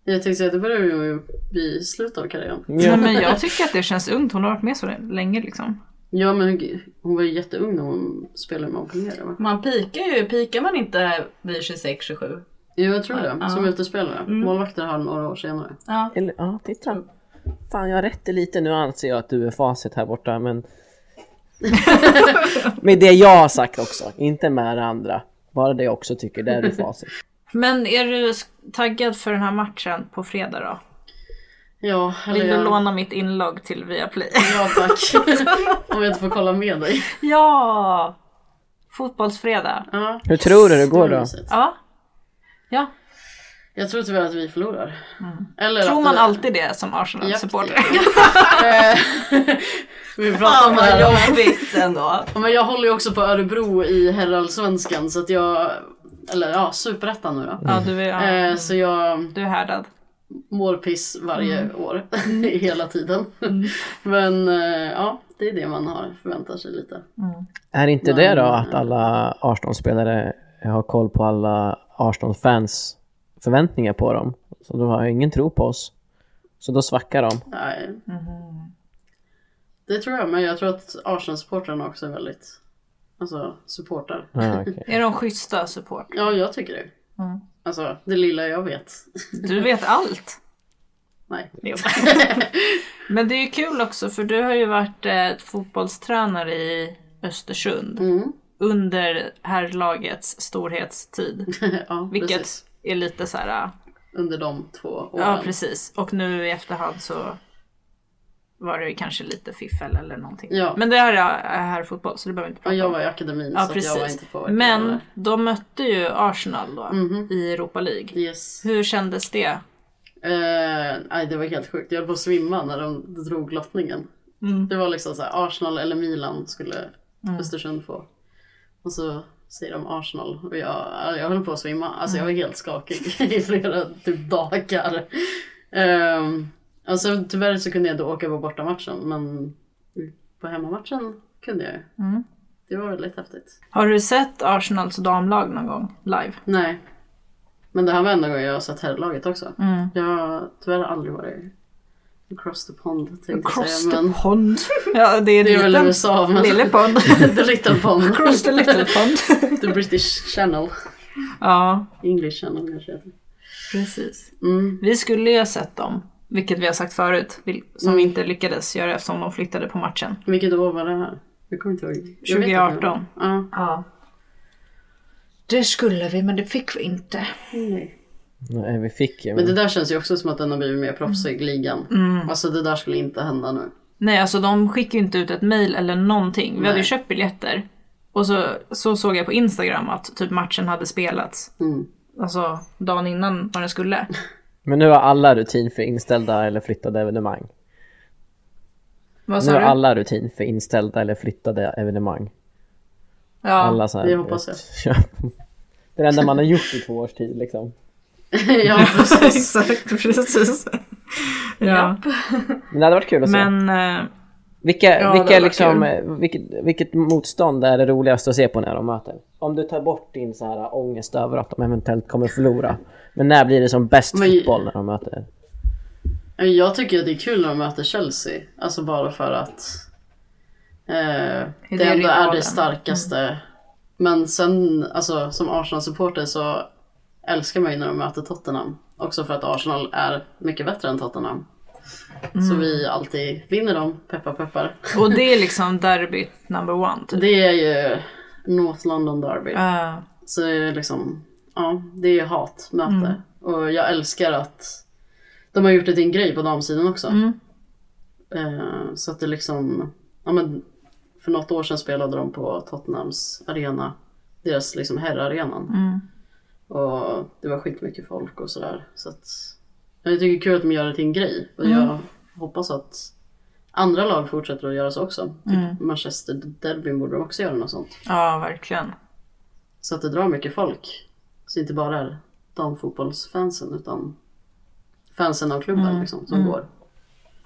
G: Jag tänkte säga att det börjar ju bli slut av karriären.
E: Nej, men jag tycker att det känns ungt. Hon har varit med så länge liksom.
G: Ja men hon- hon var ju jätteung när hon spelade med Montpellier va?
H: Man pikar ju, pikar man inte vid 26-27?
G: Jo jag tror det, som utespelare.
E: Mm.
G: Målvakter har några år senare.
F: Eller, ja, titta. Fan, jag har rätt i lite. Nu anser jag att du är facit här borta, men... med det jag har sagt också, inte med det andra. Bara det jag också tycker, där är du facit.
E: Men är du taggad för den här matchen på fredag då?
G: Ja, eller
E: Vill du
G: jag,
E: låna mitt inlogg till Viaplay? <laughs>
G: ja tack. <laughs> Om jag inte får kolla med dig.
E: ja! Fotbollsfredag.
G: Ja.
F: Hur tror du det går då?
G: mysigt.
E: Ja. Ja,
G: Jag tror tyvärr att vi förlorar. Eller
E: Mm. tror
G: att
E: man
G: det-
E: alltid det som Arsenal-supporter? <laughs>
G: Eh, <laughs> Vi pratar om det här.
E: jobbigt ändå.
G: Ja, Men jag håller ju också på Örebro i herrallsvenskan så att jag, eller ja, superettan nu då.
E: Ja, du är, ja,
G: Eh, så jag
E: du är härdad.
G: mår piss varje
E: Mm.
G: år, <laughs> hela tiden. Men eh, ja, det är det man har, förväntar sig lite.
F: Är inte det då att alla Arsenal-spelare har koll på alla Arsenal-fans förväntningar på dem? Så de har ju ingen tro på oss. Så då svackar de.
G: Nej.
E: Mm-hmm.
G: Det tror jag, men jag tror att Arsenal-supportrarna också är väldigt, alltså supportar.
F: Ja,
E: <laughs>
F: Ah, okej.
E: Är de schyssta support?
G: Ja, jag tycker det.
E: Mm.
G: Alltså, det lilla jag vet. <laughs>
E: Du vet allt.
G: Nej. <laughs>
E: Men det är ju kul också för du har ju varit eh, fotbollstränare i Östersund
G: Mm.
E: under herrlagets storhetstid.
G: <laughs> ja,
E: Vilket
G: precis.
E: är lite så här, ah,
G: Under de två åren.
E: ja precis. Och nu i efterhand så var det ju kanske lite fiffel eller någonting.
G: Ja.
E: Men det här är herrfotboll så det behöver vi inte
G: Ja,
E: prata
G: jag
E: om.
G: var i akademin
E: Ja
G: så att jag var
E: precis.
G: inte på
E: Men de mötte ju Arsenal då
G: Mhm.
E: i Europa League.
G: Yes.
E: Hur kändes det?
G: Eh, nej, det var helt sjukt. Jag höll på att svimma när de drog lottningen.
E: Mm.
G: Det var liksom så här, Arsenal eller Milan skulle Östersund få. Och så säger de Arsenal och jag, eh, jag höll på att svimma. Alltså
E: Mm.
G: jag var helt skakig <laughs> i flera typ dagar. Um, alltså tyvärr så kunde jag inte åka på bortamatchen men på hemmamatchen kunde jag ju.
E: Mm.
G: Det var väldigt häftigt.
E: Har du sett Arsenals damlag någon gång live?
G: Nej. Men det här var enda gången jag har sett herrlaget också.
E: Mm.
G: Jag har tyvärr aldrig varit across the pond tänkte jag
E: Cross
G: säga.
E: the
G: Men
E: pond. <laughs> Ja, det är,
G: det är väl
E: liten.
G: USA men... <laughs>
E: Lille <laughs> pond.
G: the little pond.
E: Cross the little <laughs> pond.
G: <laughs> the British channel.
E: ja,
G: English channel kanske heter.
E: precis.
G: Mm.
E: Vi skulle ju ha sett dem, vilket vi har sagt förut, vil- som vi inte lyckades göra eftersom de flyttade på matchen.
G: Vilket år var det här? Jag kommer inte ihåg. Jag vet att det var-
E: 2018.
G: Ja.
E: Ja. Det skulle vi, men det fick vi inte. Mm.
G: Nej.
F: Nej, vi fick ju.
G: Men det
F: Men...
G: där känns ju också som att den har blivit mer proffsig, ligan.
E: Mm.
G: Alltså det där skulle inte hända nu.
E: Nej, alltså de skickade ju inte ut ett mail eller någonting. Vi hade ju
G: Nej.
E: köpt biljetter. Och så, så såg jag på Instagram att typ matchen hade spelats.
G: Mm.
E: Alltså dagen innan vad den skulle.
F: men nu har alla rutin för inställda eller flyttade evenemang.
E: Vad
F: Nu
E: sa
F: har
E: du?
F: alla rutin för inställda eller flyttade evenemang.
E: Ja.
F: Alla så här,
G: det hoppas jag. <laughs>
F: Ja. <laughs> Det är det enda man har gjort i två års tid liksom.
G: ja, precis.
E: Exakt, precis. ja.
F: Men det hade varit kul att se.
E: Men eh,
F: Vilka,
E: Ja, det
F: vilka
E: hade varit
F: liksom,
E: kul.
F: eh, vilket, vilket motstånd är det roligast att se på när de möter? Om du tar bort din så här ångest över att de eventuellt kommer förlora. Men när blir det som bäst
G: Men-
F: fotboll när de möter?
G: Men Jag tycker att det är kul när de möter Chelsea. Alltså bara för att eh, det,
E: det
G: ändå är
E: rivalen? Mm.
G: det starkaste. Men sen, alltså som Arsenal-supporter så älskar man ju när de möter Tottenham. Också för att Arsenal är mycket bättre än Tottenham.
E: Mm.
G: Så vi alltid vinner dem, peppar peppar.
E: och det är liksom derbyt number one typ.
G: Det är ju North London Derby.
E: Ja.
G: Så det är liksom, ja, det är ju hatmöte.
E: Mm.
G: Och jag älskar att de har gjort det till en grej på damsidan också.
E: Mm.
G: Eh, så att det liksom, ja men för något år sedan spelade de på Tottenhams arena, deras liksom herrarenan.
E: Mm.
G: Och det var skitmycket folk och sådär. Så att, men jag tycker det är kul att de gör det till en grej. Och
E: Mm.
G: jag hoppas att andra lag fortsätter att göra så också. Typ
E: Mm.
G: Manchester Derbyn borde de också göra något sånt.
E: ja, verkligen.
G: Så att det drar mycket folk. Så inte bara är damfotbollsfansen utan fansen av klubben liksom, som går.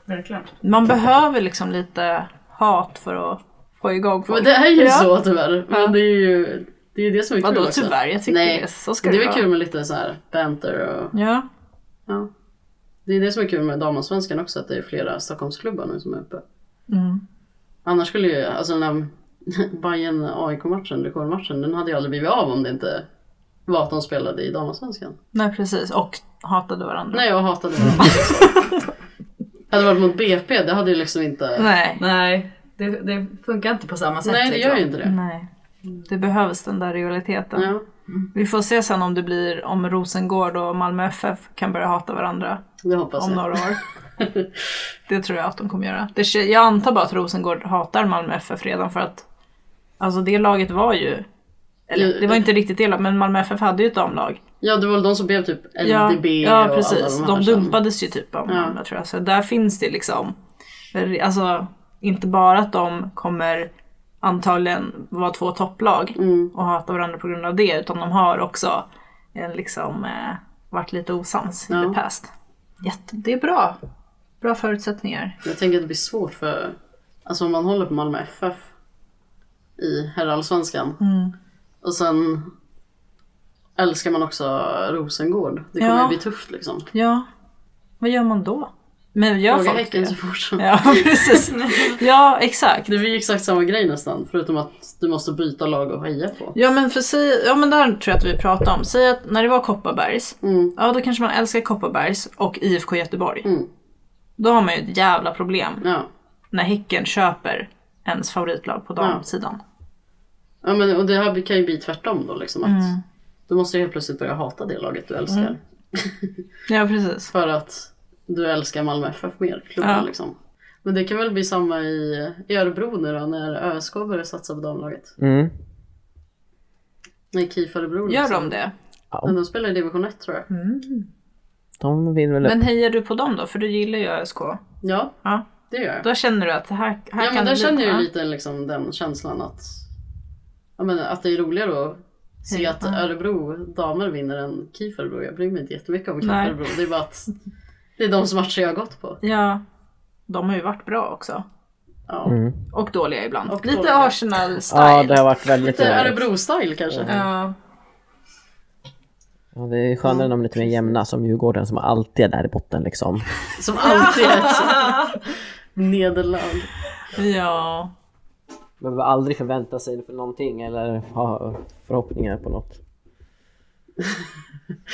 H: Verkligen.
E: Man behöver liksom lite hat för att få igång folk.
G: Men det är ju
E: Ja.
G: så tyvärr. Men det är ju det, är ju det som är kul
E: Vadå
G: också.
E: tyvärr? Jag tycker
G: Nej.
E: det. är- Så ska
G: Men
E: det,
G: Det är väl
E: vara.
G: kul med lite så här banter och
E: Ja.
G: ja. Det är det som är kul med damallsvenskan också att det är flera Stockholmsklubbar nu som är uppe.
E: Mm.
G: Annars skulle ju, alltså den här <laughs> bayern aik matchen rekordmatchen, den hade ju aldrig blivit av om det inte var att de spelade i damallsvenskan.
E: Nej, precis. Och hatade varandra.
G: Nej, jag hatade
E: Mm.
G: varandra. hade det varit mot BP, det hade ju liksom inte...
E: Nej.
H: Nej, det, det funkar inte på samma sätt.
E: Mm.
G: Nej, det gör ju inte det.
E: Nej. Det behövs den där rivaliteten.
G: Ja.
E: Vi får se sen om det blir om Rosengård och Malmö FF kan börja hata varandra
G: Det hoppas
E: om
G: jag.
E: några år. Det tror jag att de kommer göra. Det, kä- jag antar bara att Rosengård hatar Malmö FF redan för att alltså det laget var ju eller, det var inte riktigt det laget, men Malmö FF hade ju ett damlag.
G: <laughs> Ja, det var väl de som blev typ
E: Ja,
G: LDB
E: ja
G: och
E: precis.
G: alla
E: De
G: här sen.
E: dumpades ju typ av varandra tror jag. Så där finns det liksom, alltså inte bara att de kommer antagligen vara två topplag
G: Mm.
E: och hata varandra på grund av det utan de har också en, liksom eh, varit lite osams i the past. Jätte, det är bra. Bra förutsättningar.
G: Jag tänker att det blir svårt för, alltså om man håller på Malmö FF i herrallsvenskan
E: Mm.
G: och sen älskar man också Rosengård. Det kommer
E: Ja.
G: ju bli tufft liksom.
E: Ja, vad gör man då? Men gör
G: Fråga
E: folk
G: Häcken
E: det?
G: så fort som...
E: Ja, <laughs>
G: <laughs>
E: precis. Ja, exakt.
G: Det blir ju exakt samma grej nästan, förutom att du måste byta lag och heja på.
E: Ja men för säg, ja men det här tror jag att vi pratade om. Säg att när det var Kopparbergs, ja då kanske man älskar Kopparbergs och IFK Göteborg.
G: Mm.
E: Då har man ju ett jävla problem
G: Ja.
E: när Häcken köper ens favoritlag på damsidan.
G: Ja, men, och det här kan ju bli tvärtom då liksom. Att
E: Mm.
G: Du måste ju helt plötsligt börja hata det laget du älskar.
E: Ja, precis.
G: För att du älskar Malmö FF mer, klubben
E: Ja.
G: liksom. Men det kan väl bli samma i, i Örebro nu då när ÖSK börjar satsa på damlaget.
F: Mm.
G: Nej, KIF Örebro.
E: Gör
G: liksom.
E: de Mm. det?
G: Men de spelar i division 1 tror jag.
F: De vill väl upp.
E: Men hejar du på dem då? För du gillar ju ÖSK.
G: Ja,
E: Ja.
G: det gör jag.
E: Då känner du att det här, här
G: Ja,
E: kan
G: men
E: det
G: där
E: bli-
G: känner jag
E: ja.
G: ju lite liksom den känslan att, ja, men, att det är roligare att se att Örebro damer vinner än KIF Örebro. Jag bryr mig inte jättemycket om KIF
E: Nej.
G: Örebro. Det är bara att det är de som matcher jag har gått på.
E: Ja. De har ju varit bra också.
G: Ja.
E: Och dåliga ibland.
G: Och
E: lite
G: dåliga.
F: Ja, det
E: Arsenal-style.
F: har varit väldigt...
G: Lite Örebro-style kanske.
E: Ja,
F: Ja, det är skönare när de är lite mer jämna, som Djurgården som alltid är där i botten liksom.
G: Som alltid är ett nederlag.
E: ja.
F: Behöver aldrig förvänta sig för någonting eller ha förhoppningar på något.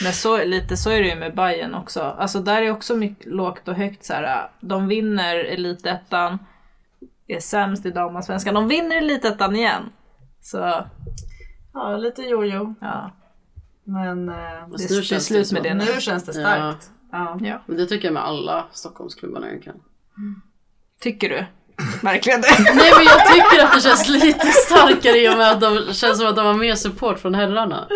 E: Men så, lite så är det ju med Bayern också. Alltså där är också mycket lågt och högt så här. De vinner elitettan, är sämst i damallsvenskan. De vinner elitettan igen. Så
H: Ja, lite jojo.
E: ja,
H: Men eh,
E: det,
G: nu
E: det är
G: känns det
E: slut med
G: så.
E: det nu.
H: nu känns det starkt. Ja.
E: Ja.
G: Men det tycker jag med alla Stockholmsklubbarna egentligen.
E: Tycker du? Verkligen det?
G: Nej men jag tycker att det känns lite starkare i och med att de känns som att de har mer support från herrarna.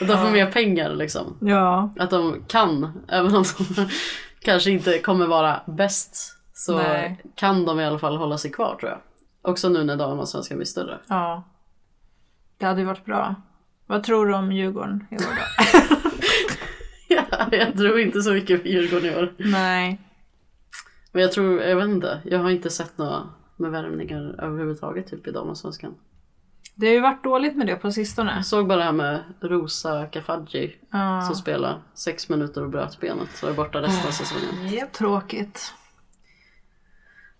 G: Att de får mer pengar liksom.
E: Ja.
G: Att de kan, även om de <laughs> kanske inte kommer vara bäst. Så
E: Nej.
G: kan de i alla fall hålla sig kvar tror jag. Också nu när damallsvenskan blir större. <laughs>
E: ja. Det hade ju varit bra. Vad tror du om Djurgården i år
H: <laughs>
E: då?
G: jag tror inte så mycket på Djurgården i år.
E: Nej.
G: Men jag tror, jag vet inte, jag har inte sett några med värvningar överhuvudtaget typ i damallsvenskan.
E: Det har ju varit dåligt med det på sistone.
G: Jag såg bara det här med Rosa Kafaji
E: Ja.
G: som spelar sex minuter och bröt benet så är borta resten av säsongen.
E: Tråkigt.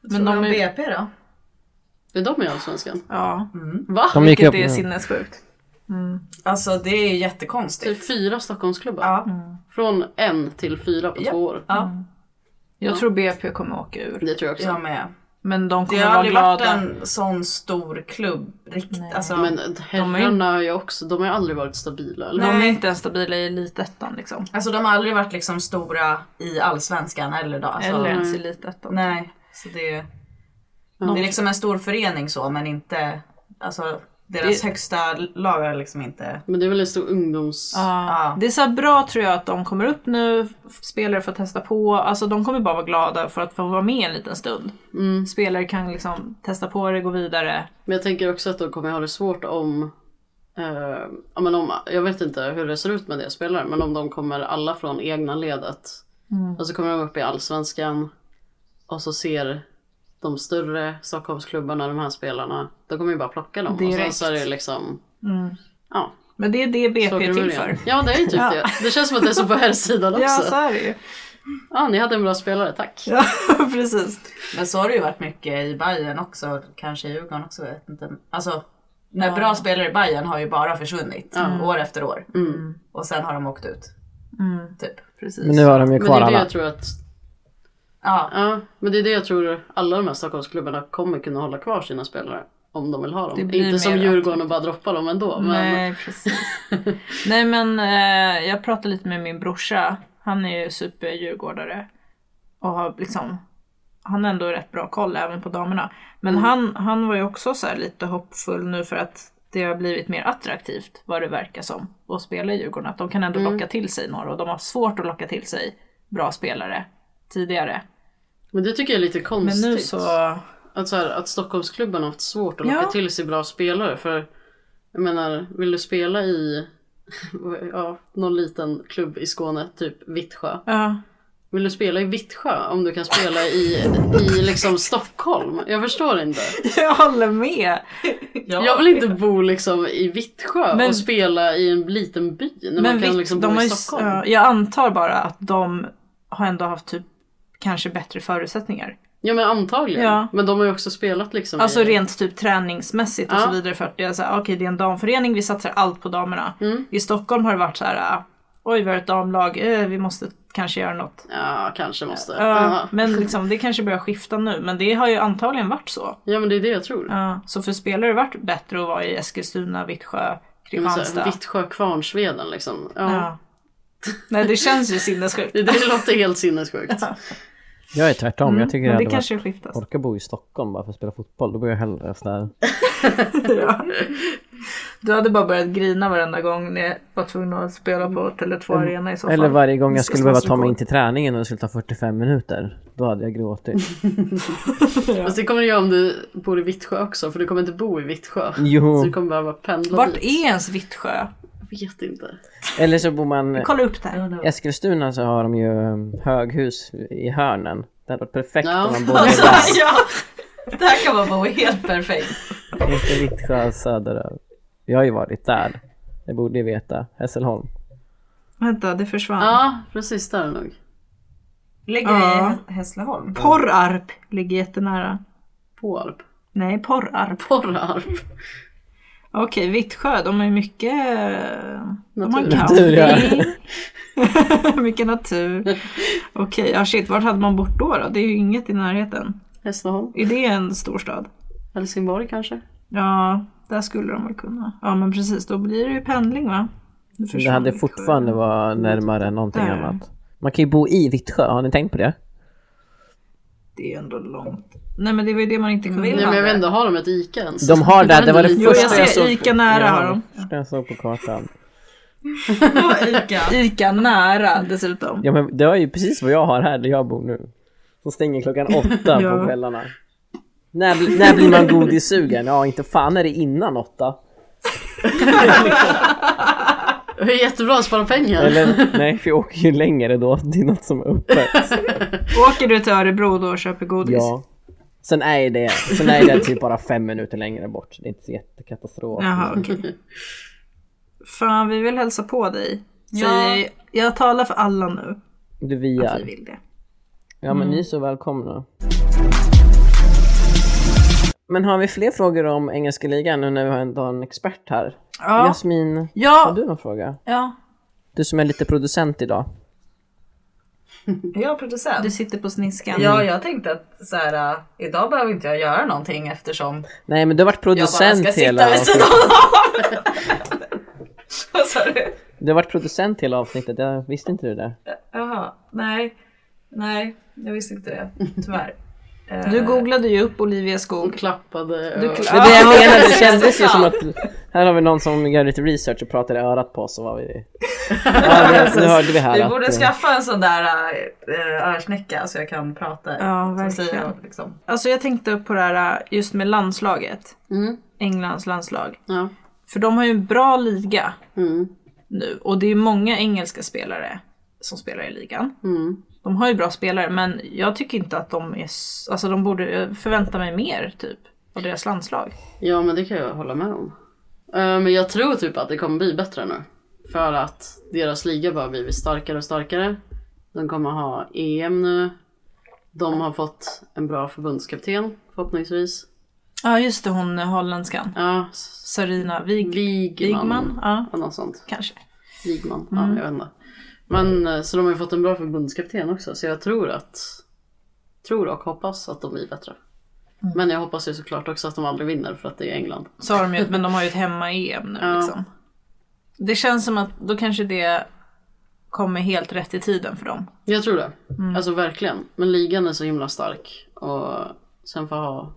H: Men
E: Men
H: de
E: de är,
H: BP då?
G: Det är de i Allsvenskan.
E: ja,
G: Va?
F: De gick
E: vilket
F: upp,
E: är sinnessjukt.
H: Alltså det är ju jättekonstigt.
G: Typ fyra Stockholmsklubbar.
H: Ja.
G: Från en till fyra på två år.
H: Ja,
E: Jag tror BP kommer åka ur.
G: Det tror jag också.
H: jag med.
E: Men de
H: Det
E: kommer
H: har
E: vara
H: aldrig
E: glada.
H: varit en sån stor klubb riktigt. Alltså,
G: Men herrarna har ju också, de har ju aldrig varit stabila. Eller?
E: De är
H: Nej.
E: inte ens stabila i elitettan liksom.
H: alltså de har aldrig varit liksom stora i allsvenskan eller då. Alltså,
E: Eller ens i elitettan.
H: Nej, så det, det är liksom en stor förening så men inte, alltså deras
E: Det-
H: högsta lag är liksom inte.
G: Men det är väl en stor ungdoms...
E: Ja. Det är så här bra tror jag att de kommer upp nu, spelare får testa på, alltså de kommer bara vara glada för att få vara med en liten stund.
H: Mm.
E: Spelare kan liksom testa på det, gå vidare.
G: Men jag tänker också att de kommer ha det svårt om, eh, ja, men om, jag vet inte hur det ser ut med det spelare, men om de kommer alla från egna ledet.
E: Mm.
G: Och så kommer de upp i allsvenskan och så ser de större Stockholmsklubbarna, de här spelarna, de kommer ju bara plocka dem. Och sen
E: Direkt.
G: så är det liksom, ja.
E: Men det är det
G: så
E: BP är
G: går
E: till
G: det
H: <laughs>
G: igen.
E: för.
H: Alltså.
G: Ja det är ju typ
E: Ja.
G: det. Det känns som att det är så på här sidan
E: Ja,
G: också.
E: så är det
H: <laughs>
E: ju.
G: Ja, ni hade en bra spelare, tack.
E: Ja, precis.
H: Men så har det ju varit mycket i Bayern också, kanske i Djurgården också, jag vet inte. Alltså, när bra spelare i Bayern har ju bara försvunnit år efter år. Och sen har de åkt ut. Typ.
E: Mm. precis.
F: Men nu har de ju
G: Men det
F: kvar
G: är det
F: alla.
G: jag tror att
H: Ja,
G: Ja, men det är det jag tror alla de här Stockholmsklubbarna kommer kunna hålla kvar sina spelare. om de vill ha dem.
E: Det blir
G: Inte som
E: mer
G: Djurgården och bara droppa dem ändå. Men,
E: Nej, precis. <laughs> Nej, men eh, jag pratade lite med min brorsa. Han är ju superdjurgårdare. Och har liksom, han har ändå rätt bra koll även på damerna. Men han, han var ju också så här lite hoppfull nu för att det har blivit mer attraktivt vad det verkar som att spela i Djurgården. Att de kan ändå locka till sig några och de har svårt att locka till sig bra spelare tidigare.
G: men det tycker jag är lite
E: Men
G: konstigt.
E: nu så...
G: Att, så här, att Stockholmsklubben har haft svårt att locka
E: Ja.
G: till sig bra spelare. För jag menar, vill du spela i <laughs> ja, någon liten klubb i Skåne, typ Vittsjö.
E: Ja,
G: Vill du spela i Vittsjö om du kan spela i, i liksom Stockholm? Jag förstår inte.
E: <laughs> jag håller med.
G: Jag vill inte bo liksom i Vittsjö
E: Men-
G: och spela i en liten by när man kan
E: vitt-
G: liksom
E: de
G: bo
E: har
G: i
E: ju-
G: Stockholm.
E: ja, jag antar bara att de har ändå haft typ kanske bättre förutsättningar.
G: Ja men antagligen.
E: Ja.
G: Men de har ju också spelat liksom
E: Alltså
G: i...
E: rent typ träningsmässigt och
G: Ja.
E: så vidare för att det är såhär, okej det är en damförening, vi satsar allt på damerna.
G: Mm.
E: I Stockholm har det varit så här: "Ah, oj vi har ett damlag, eh, vi måste kanske göra något.
G: Ja, kanske måste.
E: Ja,
G: Ja.
E: Men liksom, det kanske börjar skifta nu, men det har ju antagligen varit så.
G: Ja men det är det jag tror.
E: Ja, så för spelare har det varit bättre att vara i Eskilstuna, Vittsjö,
G: Men så här,
E: Kristianstad.
G: Alltså, Vittsjö, Kvarnsveden liksom. Ja.
E: ja. Nej det känns ju sinnessjukt.
G: Det, det låter
E: <laughs>
G: helt sinnessjukt.
F: Jag är tvärtom. jag tycker
E: Mm, Men det
F: det, hade
E: kanske
F: varit...
E: skiftas.
F: Orka bo i Stockholm bara för att spela fotboll. Då bor jag hellre där.
E: Ja. Du hade bara börjat grina varenda gång ni var tvungna att spela på Tele2 Arena i så fall.
F: Eller varje gång
E: Det
F: jag
E: ska
F: skulle behöva
E: slås
F: ta mig in
E: rekord.
F: till träningen och det skulle ta 45 minuter. Då hade jag gråtit.
G: Fast det kommer du göra om du bor i Vittsjö också för du kommer inte bo i Vittsjö.
F: Jo.
G: Så du kommer behöva pendla
E: Vart
G: dit.
E: är ens Vittsjö?
G: Jag vet inte.
F: Eller så bor man...
E: Kolla upp det. här.
F: I Eskilstuna så har de ju um, höghus i hörnen. Det hade varit perfekt
G: Ja.
F: om man bodde där.
H: ja, där kan man bo helt perfekt.
F: Efter Vittsjö söderöver. Jag har ju varit där. Jag borde ju veta. Hässleholm.
E: Vänta, det försvann.
G: Ja, precis där nog.
H: Ligger
E: Ja.
H: i Hässleholm.
E: Porrarp ligger jättenära.
G: Påarp.
E: Nej, Porrarp.
G: Porrarp.
E: Okej, Vittsjö, de är mycket... De har
G: Natur.
F: Natur, ja.
E: camping. <laughs> mycket natur. Okej, ja shit, vart hade man bort då, då? Det är ju inget i närheten.
G: Hässleholm.
E: Är det en storstad?
G: Helsingborg kanske.
E: Ja, där skulle de väl kunna. Ja men precis, då blir det ju pendling va? Nu
F: Det
E: försvann
F: hade
E: Vittsjö.
F: fortfarande varit närmare än någonting
E: Där.
F: annat. Man kan ju bo i Vittsjö. Har ni tänkt på det?
E: Det är ändå långt. Nej men det var ju det man inte kunde.
H: Mm,
G: Nej, men jag vet inte, har de ett ICA ens?
F: De har det. Det var det
G: Jo,
E: Jo
F: första
E: jag ser
F: såg-
E: Ica nära
F: Ja,
E: har de.
F: det första jag såg på kartan.
H: <laughs>
E: Ica nära dessutom.
F: Ja men det var ju precis vad jag har här där jag bor nu. Som stänger
E: <laughs>
F: klockan åtta
E: Ja.
F: på kvällarna. När, bli- när blir man godissugen? Ja inte fan är det innan åtta.
G: Det är jättebra att spara pengar.
F: Eller nej för jag åker ju längre då till något som
E: <laughs>
F: är öppet.
E: Åker du till Örebro då och köper godis?
F: Ja. Sen är ju det, sen är det typ bara fem minuter längre bort. Det är inte så jättekatastrof.
E: Jaha okej.
H: <laughs>
E: Fan vi vill hälsa på dig. Säger, jag talar för alla nu.
F: Du
E: att
F: viar.
E: Vi vill det.
F: Ja
H: Mm.
F: men ni är så välkomna. Men har vi fler frågor om engelska ligan nu när vi har en, har en expert här?
E: Ja,
F: Jasmin, har
E: ja,
F: du någon fråga?
E: ja.
F: Du som är lite producent idag.
H: Är jag producent?
E: Du sitter på sniskan.
H: Ja, jag tänkte att så här, äh, idag behöver inte jag göra någonting eftersom
F: Nej men du har varit
H: jag bara
F: producent
H: ska
F: hela
H: sitta vid sidan
F: avsnittet.
H: av. <laughs> Vad sa du?
F: Du har varit producent hela avsnittet, jag visste inte du det.
H: Jaha, nej. Nej, jag visste inte det. Tyvärr. Eh,
E: Du googlade ju upp Olivia Skog.
G: <laughs> Klappade.
E: Du
G: och-
F: Det är
H: <laughs>
F: det jag menar, det
H: precis.
F: kändes ju som att här har vi någon som gör lite research och pratar i örat på oss och vad
H: <laughs>
F: vi... Ja, det, det hörde vi här
H: Vi
F: att,
H: borde
F: eh,
H: skaffa en sån där äh, örsnäcka så jag kan prata.
E: Ja,
H: Så
E: verkligen.
H: säger jag liksom.
E: Alltså jag tänkte på det här eh, just med landslaget.
F: Mm.
E: Englands landslag.
G: Ja.
E: För de har ju en bra liga
G: Mm.
E: nu och det är ju många engelska spelare som spelar i ligan.
G: mm.
E: De har ju bra spelare men jag tycker inte att de är... s- Alltså de borde jag förväntar mig mer typ av deras landslag.
G: Ja men det kan jag hålla med om. Eh, Men jag tror typ att det kommer bli bättre nu. För att deras liga bara blivit starkare och starkare. De kommer ha EM nu. De har fått en bra förbundskapten förhoppningsvis.
E: Ja just det, hon eh, holländskan.
G: Ja, s-
E: Sarina Wig...
G: Wigman.
E: Wigman? Ja,
G: Ja, något sånt.
E: kanske.
G: Wigman.
E: Mm.
G: Ja, jag vet inte. Men eh, så de har ju fått en bra förbundskapten också. Så jag tror att, tror och hoppas att de blir bättre.
E: Mm.
G: Men jag hoppas ju såklart också att de aldrig vinner för att det är England.
E: Så har de ju, men de har ju ett hemma-EM nu
G: Ja.
E: liksom. Det känns som att då kanske det kommer helt rätt i tiden för dem.
G: Jag tror det.
E: Mm.
G: Alltså verkligen. Men ligan är så himla stark. Och sen få ha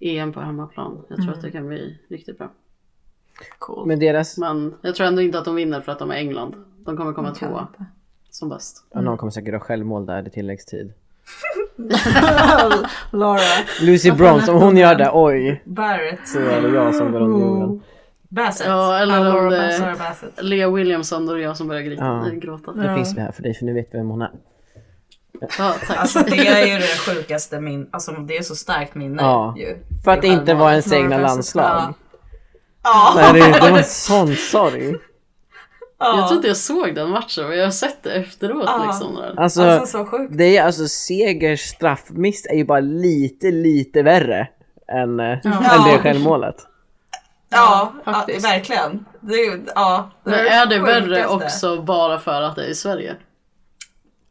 G: EM på hemmaplan. Jag tror
E: Mm.
G: att det kan bli riktigt bra.
E: Cool.
F: Men deras...
G: Men jag tror ändå inte att de vinner för att de är England. De kommer komma
E: De kan
G: tvåa
E: inte.
G: som bäst.
F: Ja, Någon kommer säkert göra självmål där i tilläggstid.
E: <laughs> Laura.
F: Lucy Bronze, om hon gör det, oj!
H: Barrett.
F: Så är det jag som går under jorden.
H: Bassett.
G: Ja, eller om
H: Aurora
G: det-
H: Bassett. Bassett.
G: Lea Williamson och jag som börjar grita,
F: Ja.
G: gråta.
F: Då finns vi här för dig, för nu vet vi vem hon är.
G: Ja, tack.
H: Alltså det är ju det sjukaste min, alltså det är så starkt minne
F: Ja.
H: ju.
F: För att det inte var ens egna
H: Bassett.
F: landslag.
H: Ja.
F: Nej, det, det var
H: <laughs>
F: en sån sorg.
H: Ja.
G: Jag tror inte jag såg den matchen men jag har sett det efteråt
H: Ja.
G: liksom. Där.
F: Alltså,
H: Alltså så sjukt.
F: det är alltså seger, straffmiss är ju bara lite, lite värre än, eh, än det självmålet.
H: Ja, ja
G: faktiskt.
H: verkligen. Det är, ju- ja,
G: Men är det värre
H: sjukaste.
G: också bara för att det är i Sverige?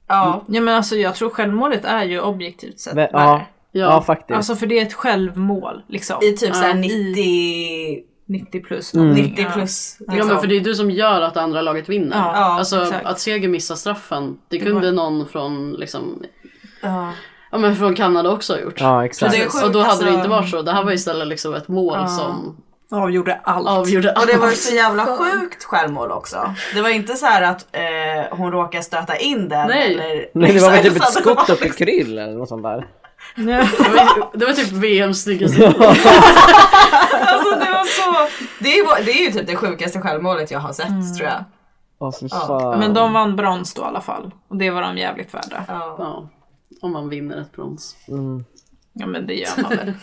H: Ja.
E: Ja men alltså jag tror självmålet är ju objektivt sett
F: Vä-
E: värre.
F: ja, ja, faktiskt.
E: Alltså för det är ett självmål liksom.
H: I typ såhär
G: Ja,
H: 90,
E: 90 plus.
F: Mm.
E: någonting.
H: 90 plus. Liksom.
G: Ja men för det är du som gör att det andra laget vinner.
E: Ja,
H: ja,
G: alltså
E: exakt.
G: att Seger missar straffen, det kunde
E: var-
G: någon från liksom,
H: Ja.
G: ja men från Kanada också ha gjort.
F: ja, exakt.
H: Så det är
G: Och
H: sjukt,
G: då hade
H: alltså.
G: det inte varit så, det här var istället liksom ett mål som
E: Avgjorde allt.
G: avgjorde allt.
H: Och det var ju så jävla sjukt självmål också. Det var inte så här att eh, hon råkade stöta in den.
G: Nej.
H: eller, Alltså,
F: Nej, det
H: <laughs>
F: var väl typ ett
H: Utan det var
F: skott upp i kryll eller något sånt där.
G: <laughs> Det var- det var typ VMs snyggaste.
H: Alltså det var så. Det är, ju- det är ju typ det sjukaste självmålet jag har sett
G: Mm.
H: tror jag.
F: Åh fy
H: Ja.
F: fan.
E: Men de vann brons då i alla fall. Och det var de jävligt värda.
H: Ja.
G: Ja, om man vinner ett brons.
F: Mm.
E: Ja men det gör man väl.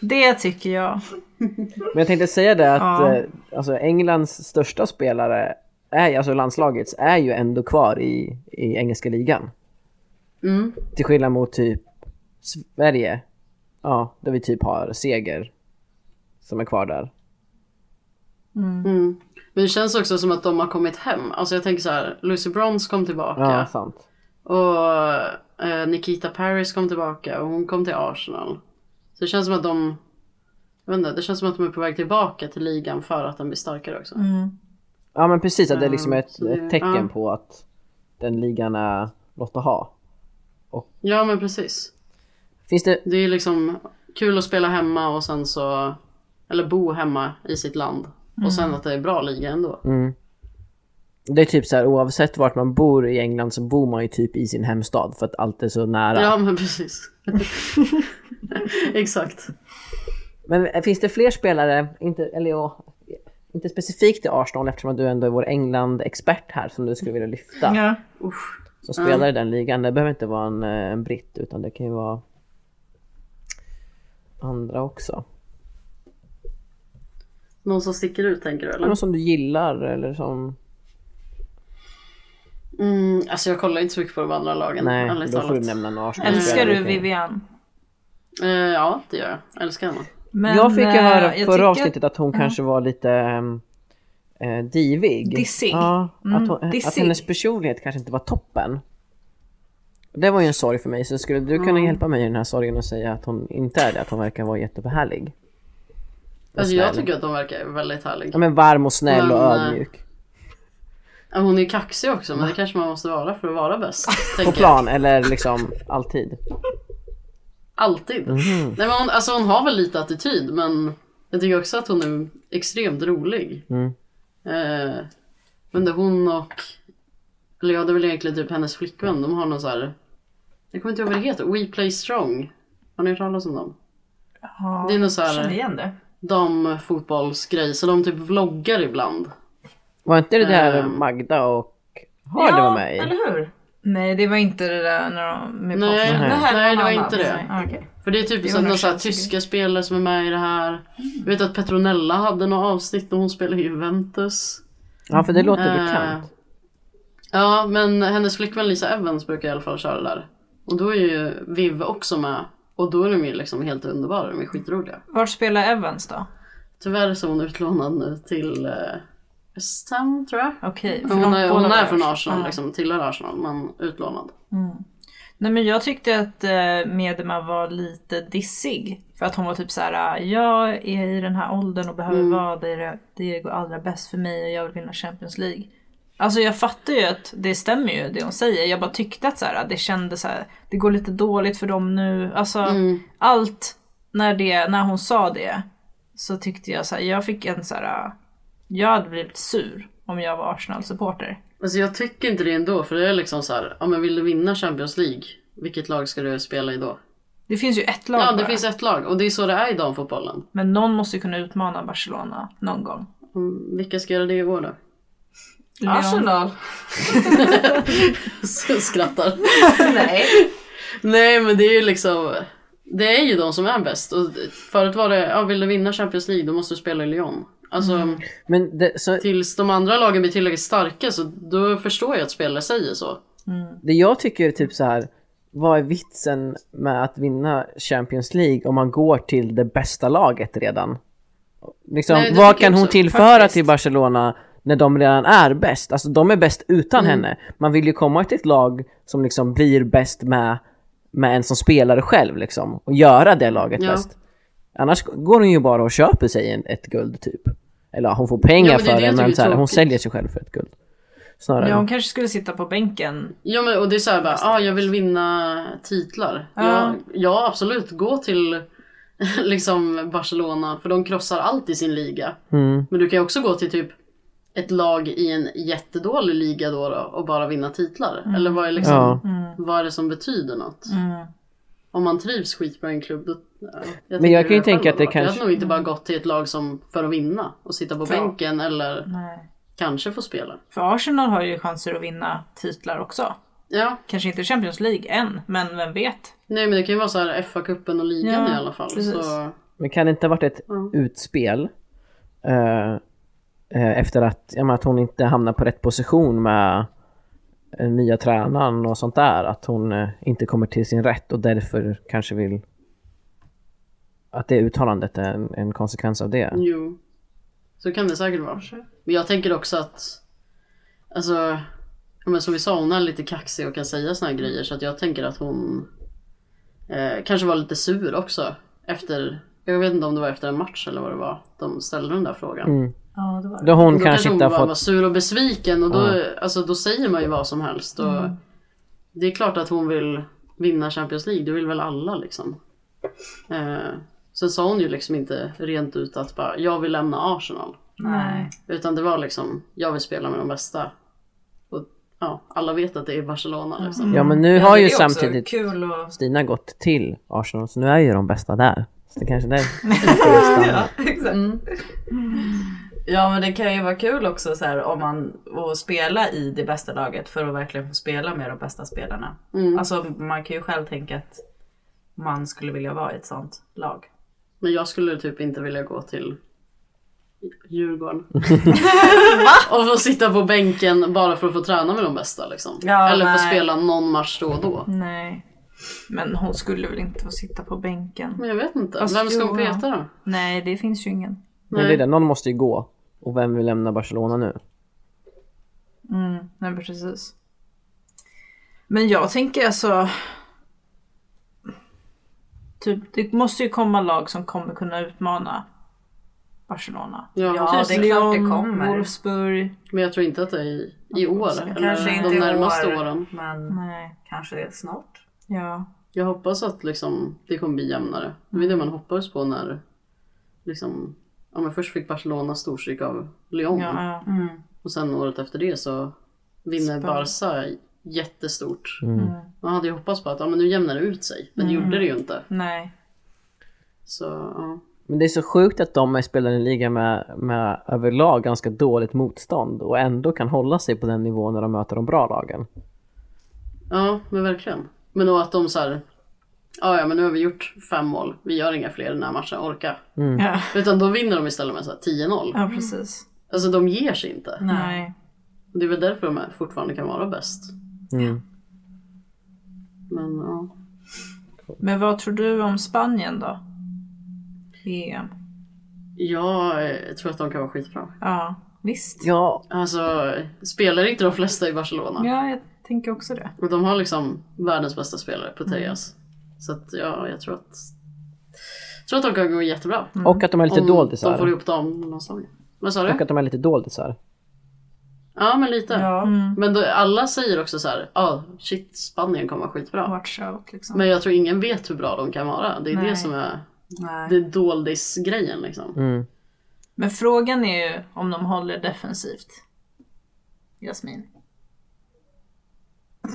E: det tycker jag.
H: Mm.
F: Men jag tänkte säga det att
E: Ja.
F: eh, alltså Englands största spelare, är, alltså landslagets, är ju ändå kvar i, i engelska ligan.
G: Mm.
F: Till skillnad mot typ Sverige. Ja, där vi typ har Seger som är kvar där.
G: Mm. Men det känns också som att de har kommit hem. Alltså jag tänker så här, Lucy Bronze kom tillbaka.
F: Ja, sant.
G: Och eh, Nikita Paris kom tillbaka och hon kom till Arsenal. Så det känns som att de, jag vet inte, det känns som att de är på väg tillbaka till ligan för att den blir starkare också.
F: Ja, men precis att det är liksom ett,
G: så det-
F: ett tecken
G: ja.
F: på att den ligan är något att ha.
G: Ja men precis.
F: Finns det,
G: Det är liksom kul att spela hemma och sen så, eller bo hemma i sitt land. Och sen att det är bra liga ändå.
F: mm. Det är typ så här oavsett vart man bor i England så bor man ju typ i sin hemstad för att allt är så nära.
G: Ja men precis. <laughs> Exakt.
F: Men eh, finns det fler spelare, inte, eller ja, inte specifikt i Arsenal eftersom du ändå är vår England-expert här som du skulle vilja lyfta.
E: Ja.
F: Som spelar i den ligan. Det behöver inte vara en, eh, en britt utan det kan ju vara andra också.
G: Någon som sticker ut tänker du eller?
F: Någon som du gillar eller som...
G: Mm, alltså jag kollar inte så mycket på de andra lagen.
F: Nej,
G: ärligt
F: då får du
G: talat.
F: nämna några Arsenal.
E: Älskar du Vivian?
G: Eh, ja det gör jag. Älskar henne.
E: Men,
F: jag fick ju
E: eh,
F: höra
E: jag
F: förra
E: tycker
F: avsnittet att hon kanske var lite ehm, eh, divig.
E: Dissig. Mm,
F: Ja, att, hon, eh, att
E: dissig.
F: hennes personlighet kanske inte var toppen. Det var ju en sorg för mig, så skulle du kunna hjälpa mig i den här sorgen och säga att hon inte är det, att hon verkar vara jättebehärlig? Och
G: Alltså jag
F: snäll.
G: tycker att hon verkar väldigt härlig.
F: Ja men varm och snäll och
G: Men, eh,
F: ödmjuk.
G: Ja, Hon är ju kaxig också men det kanske man måste vara för att vara bäst.
F: <laughs> På
G: tänker jag.
F: plan eller liksom alltid.
G: Alltid.
F: Mhm.
G: Nej, men hon, alltså hon har väl lite attityd men jag tycker också att hon är extremt rolig.
F: Mm.
G: Eh, men det är hon och, eller ja det är väl egentligen typ hennes flickvän, de har någon så här, jag kommer inte ihåg vad det heter, We Play Strong. Har ni hört talas om dem?
H: Ja,
G: Det är någon så
H: jag känner
G: här
H: igen det.
G: damfotbollsgrej så de typ vloggar ibland.
F: Var inte det där
G: Ehm.
F: Magda och Har det var med i?
H: eller hur?
E: Nej det var inte det där när de, med
G: Nej,
E: Potter.
G: nej,
H: här
G: det
H: var
G: var
H: annat.
G: inte det.
E: Nej.
H: Ah, okej.
G: För det är typ
E: Det typ.
G: så
E: var
G: några
E: nog
G: så här
E: Chelsea.
G: tyska spelare som är med i det här.
E: Mm.
G: Jag vet att Petronella hade något avsnitt när hon spelade i Juventus.
F: Ja för det låter
G: Eh,
F: bekant.
G: Ja, men hennes flickvän Lisa Evans brukar i alla fall köra där. Och då är ju Viv också med. Och då är de ju liksom helt underbara, de är skitroliga.
E: Vart spelar Evans då?
G: Tyvärr så är hon utlånad nu till eh, West Ham tror jag.
E: Okej. för
G: Hon
E: de
G: är,
E: båda
G: hon
E: var Ah.
G: är
E: i
G: från Arsenal,
E: Ja.
G: liksom, tillhör Arsenal men utlånad.
E: Nej men jag tyckte att eh, Medema var lite dissig. För att hon var typ så här: jag är i den här åldern och
G: Mm.
E: behöver vara där det, det går allra bäst för mig och jag vill vinna Champions League. Alltså jag fattar ju att det stämmer ju det hon säger. Jag bara tyckte att så här, det kändes så här, det går lite dåligt för dem nu. Alltså
G: Mm.
E: allt när, det, när hon sa det så tyckte jag så här, jag fick en så här, "Ah, jag hade blivit sur om jag var Arsenal-supporter.
G: Alltså jag tycker inte det ändå för det är liksom så här, ja men vill du vinna Champions League, vilket lag ska du spela i då?
E: Det finns ju ett lag
G: Ja det
E: bara.
G: finns ett lag och det är så det är i damfotbollen.
E: Men någon måste ju kunna utmana Barcelona någon gång.
G: Mm, Vilka ska göra det i år då? <laughs>
H: Arsenal?
G: Så Skrattar.
H: Nej.
G: Nej men det är ju liksom, det är ju de som är bäst och förut var det, ja vill du vinna Champions League då måste du spela i Lyon. Alltså
F: Men det, så,
G: tills de andra lagen blir tillräckligt starka så då förstår jag att spelare säger så.
F: det jag tycker är typ så här. Vad är vitsen med att vinna Champions League om man går till det bästa laget redan? Liksom,
G: Nej, det
F: vad
G: tycker jag
F: kan hon
G: också,
F: tillföra
G: faktiskt.
F: till Barcelona när de redan är bäst? Alltså de är bäst utan
G: Mm.
F: henne. Man vill ju komma till ett lag som liksom blir bäst med, med en som spelare själv liksom. Och göra det laget
G: Ja.
F: bäst. Annars går hon ju bara och köper sig en- ett guld typ. Eller ja, hon får pengar
G: Ja, men det är
F: för
G: det
F: det,
G: jag
F: men
G: tycker
F: så
G: är
F: här, hon
G: tråkigt.
F: säljer sig själv för ett guld. Snarare.
E: Ja, hon kanske skulle sitta på bänken.
G: Ja men och det är såhär bara, ja ah, jag vill vinna titlar.
E: Ja.
G: Ja. ja absolut, gå till <laughs> liksom Barcelona för de krossar allt i sin liga.
F: Mm.
G: Men du kan ju också gå till typ ett lag i en jättedålig liga då, då och bara vinna titlar. Eller vad är, liksom,
F: Ja.
G: vad är det som betyder något? Om man trivs skitbra i en klubb då, ja, jag
F: Men jag
G: tänker
F: kan ju
G: hur
F: tänka
G: själv
F: att
G: hade
F: det
G: varit. Jag hade
F: kanske-
G: nog inte bara gått till ett lag som för att vinna och sitta på
E: För-
G: bänken eller
E: Nej.
G: kanske få spela.
E: För Arsenal har ju chanser att vinna titlar också.
G: Ja,
E: Kanske inte Champions League än, men vem vet?
G: nej men det kan ju vara så här FA-cupen och ligan
E: Ja,
G: i alla fall.
E: precis.
G: Så...
F: Men kan det inte ha varit ett
G: Ja.
F: utspel eh, eh, efter att, ja, men att hon inte hamnar på rätt position med eh, nya tränaren och sånt där? Att hon eh, inte kommer till sin rätt och därför kanske vill... Att det uttalandet är en, en konsekvens av det.
G: Jo, så kan det säkert vara. Men jag tänker också att, alltså, ja, men som vi sa, hon är lite kaxig och kan säga såna
E: Mm.
G: här grejer så att jag tänker att hon eh, kanske var lite sur också efter, jag vet inte om det var efter en match eller vad det var, de ställde den där frågan.
F: Mm.
H: Ja, det var det.
F: Då hon
G: Då
F: kanske inte
G: hon bara
F: har
G: var
F: fått...
G: sur och besviken och då,
F: Ja. Mm.
G: alltså, då säger man ju vad som helst. Och Det är klart att hon vill vinna Champions League, det vill väl alla liksom. Eh, sen sa hon ju liksom inte rent ut att bara, jag vill lämna Arsenal.
H: Nej.
G: Utan det var liksom, jag vill spela med de bästa. Och ja, alla vet att det är Barcelona liksom.
F: Ja men nu
H: Ja,
F: har
H: det
F: ju
H: är också
F: samtidigt
H: Kul och...
F: Stina gått till Arsenal så nu är ju de bästa där. Så det kanske är där.
H: Ja, <laughs> exakt. Mm. Ja men det kan ju vara kul också så här, om man att spela i det bästa laget för att verkligen få spela med de bästa spelarna. Alltså man kan ju själv tänka att man skulle vilja vara i ett sånt lag.
G: Men jag skulle typ inte vilja gå till
H: <laughs>
G: Djurgården. och få sitta på bänken bara för att få träna med de bästa liksom.
H: Ja,
G: Eller få
H: nej.
G: spela någon match då och då.
E: Nej. Men hon skulle väl inte få sitta på bänken?
G: Men jag vet inte,
E: Fast
G: vem ska hon
E: jo, ja.
G: peta då?
E: Nej, det finns ju ingen.
F: Men det är det, någon måste ju gå. Och vem vill lämna Barcelona nu?
E: Mm, nej men precis. Men jag tänker alltså... Typ, det måste ju komma lag som kommer kunna utmana Barcelona.
G: Ja,
H: Ja, det är klart det kommer.
E: Wolfsburg.
G: Men jag tror inte att det är i, i år.
H: Kanske
G: Eller
H: inte
G: de
H: i
G: närmaste
H: år,
G: åren.
H: Men
E: Nej,
H: kanske snart.
E: ja.
G: Jag hoppas att liksom, det kommer bli jämnare. Det var det man hoppades på när liksom, ja, men först fick Barcelona storstryk av Lyon.
E: ja, ja. Mm.
G: Och sen året efter det så vinner Barca jättestort.
E: Mm.
G: Man hade ju hoppats på att ja, men nu jämnar det ut sig. Men det gjorde det ju inte.
E: Nej.
G: Så ja.
F: Men det är så sjukt att de spelar i en liga med, med överlag ganska dåligt motstånd och ändå kan hålla sig på den nivån när de möter de bra lagen.
G: ja, men verkligen. Men och att de så här, ja, ja men nu har vi gjort fem mål. Vi gör inga fler i den här matchen, orka.
E: Ja.
G: Utan då vinner de istället med så här 10-0.
E: ja, precis.
G: Alltså de ger sig inte.
E: Nej.
G: Och det är väl därför de här fortfarande kan vara bäst.
F: Mm.
G: Men ja.
E: Men vad tror du om Spanien då? E EM.
G: Jag eh, tror att de kan vara skitbra.
E: Ja, visst.
F: Ja,
G: Alltså, spelar inte de flesta i Barcelona?
E: Ja, jag
H: tänker också det.
G: Och de har liksom världens bästa spelare på
F: Mm.
G: Tejas. Så att ja, jag tror att, jag tror att de kan gå jättebra.
E: Mm.
F: Och att de är lite
G: Om De får
F: doldisar.
G: ihop dem någonstans. Vad sa
F: Och
G: du?
F: att de är lite doldisar.
G: Ja, men lite.
H: Ja,
E: Mm.
G: Men då, alla säger också så här, ja, shit, Spanien kommer vara skitbra.
H: watch out liksom.
G: Men jag tror ingen vet hur bra de kan vara. Det är
H: Nej.
G: det som är,
H: Nej.
G: det är doldis-grejen liksom.
F: Mm.
E: Men frågan är ju om de håller defensivt. Jasmin.
F: <laughs>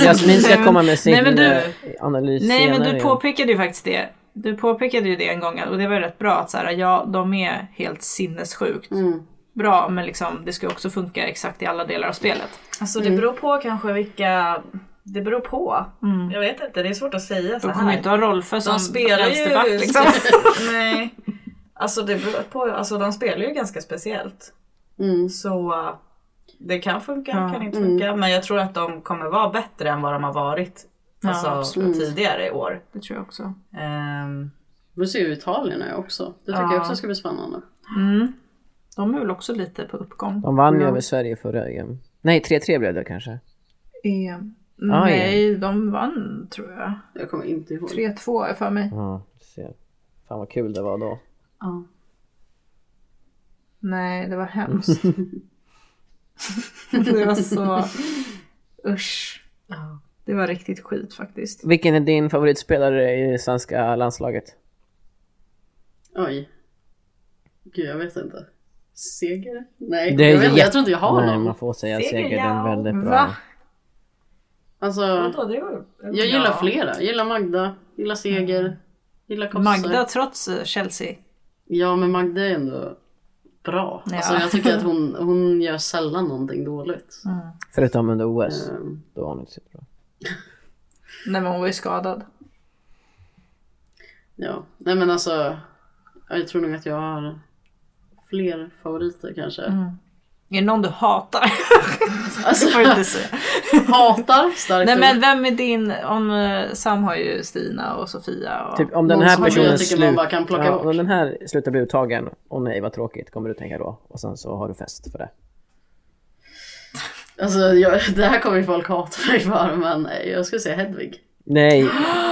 F: Jasmin ska komma med sin
E: Nej, men du-
F: eh, analys
E: Nej men
F: senare.
E: du påpekade ju faktiskt det. Du påpekade ju det en gång och det var ju rätt bra att så här, ja de är helt sinnessjukt
G: Mm.
E: bra men liksom det ska ju också funka exakt i alla delar av spelet.
H: Alltså det beror på kanske vilka... Det beror på. Jag vet inte, det är svårt att säga så
E: Mm. De kommer ju
H: här.
E: inte ha Rolfö som
H: De spelar
E: vänsterback
H: ju...
E: liksom.
H: <laughs> Nej. Alltså det beror på, alltså de spelar ju ganska speciellt.
G: Mm.
H: Så uh, det kan funka, kan inte
E: mm.
H: funka. Men jag tror att de kommer vara bättre än vad de har varit alltså,
G: absolut.
H: tidigare i år.
E: Det tror jag också.
H: Ehm,
G: Vi ser ju Italien är också. Det tycker
H: Ja.
G: jag också ska bli spännande.
H: Mm.
E: De är väl också lite på uppgång.
F: De vann ju över Sverige förra EM. Nej, 3-3 blev det kanske.
E: EM.
F: ja.
E: Eh, Nej, de vann tror jag.
G: Jag kommer inte ihåg.
E: 3-2 har jag för mig.
F: Ja, du ser. Fan vad kul det var då.
G: Ja.
E: Nej, det var
F: <laughs>
E: hemskt. <laughs> det var så... Usch. Det var riktigt skit faktiskt.
F: Vilken är din favoritspelare i det svenska landslaget?
G: Oj. Gud, jag vet inte. Seger? Nej,
F: Det är
G: jag, vet,
F: jätte-
G: inte. jag tror inte jag har
F: Nej,
G: någon.
F: man får säga
H: Seger,
F: Seger. Den
H: ja.
F: är väldigt bra.
E: Va?
G: Alltså,
H: vadå, det var ju-
G: jag gillar
H: Ja.
G: flera. Jag gillar Magda, gillar Seger, gillar Kosse.
E: Mm. Magda trots eh, Chelsea.
G: Ja, men Magda är ändå bra.
E: Ja.
G: Alltså, jag tycker
E: <laughs>
G: att hon, hon gör sällan någonting dåligt.
F: Förutom under OS.
E: Mm.
G: Ehm,
F: Då var hon inte så bra.
E: Nej men hon var ju skadad.
G: ja. Nej, men alltså, jag tror nog att jag har fler favoriter kanske.
E: Är det någon du hatar?
G: <laughs>
E: <laughs>
G: Alltså,
E: Det Mm. får du inte
F: <laughs>
E: säga.
G: hatar starkt
E: Nej
G: ord.
E: men vem är din, om eh, Sam har ju Stina och Sofia och...
F: Typ om den
G: Någon
F: här
G: som man
F: personen
G: bara tycker man
F: slut-
G: bara kan plocka
F: ja,
G: bort.
F: om den här slutar bli uttagen, åh nej vad tråkigt, kommer du tänka då. Och sen så har du fest för det.
G: Alltså, jag, <laughs> det här kommer ju folk hata mig för, men jag skulle säga Hedvig.
E: <laughs>
F: Nej,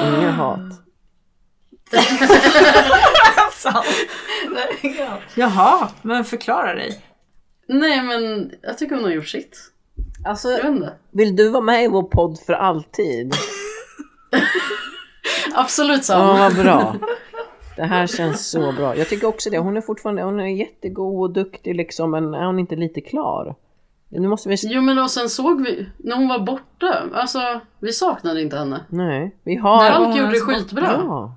F: <gasps> inga hat.
E: Jaha, men förklara dig.
G: Nej, men jag tycker hon har gjort sitt.
F: Alltså,
G: Jag vet inte.
F: vill du vara med i vår podd för alltid?
G: Absolut
F: Ja,
G: Sam.
F: vad bra. Det här känns så bra. Jag tycker också det. Hon är fortfarande hon är jättegod och duktig liksom, men är hon inte lite klar? Nu måste vi...
G: Jo men och sen såg vi, när hon var borta, alltså vi saknade inte henne.
F: Nej, vi har...
E: Nej,
G: Falk
E: hon
G: gjorde det
E: ens borta.
G: skitbra.
F: Ja,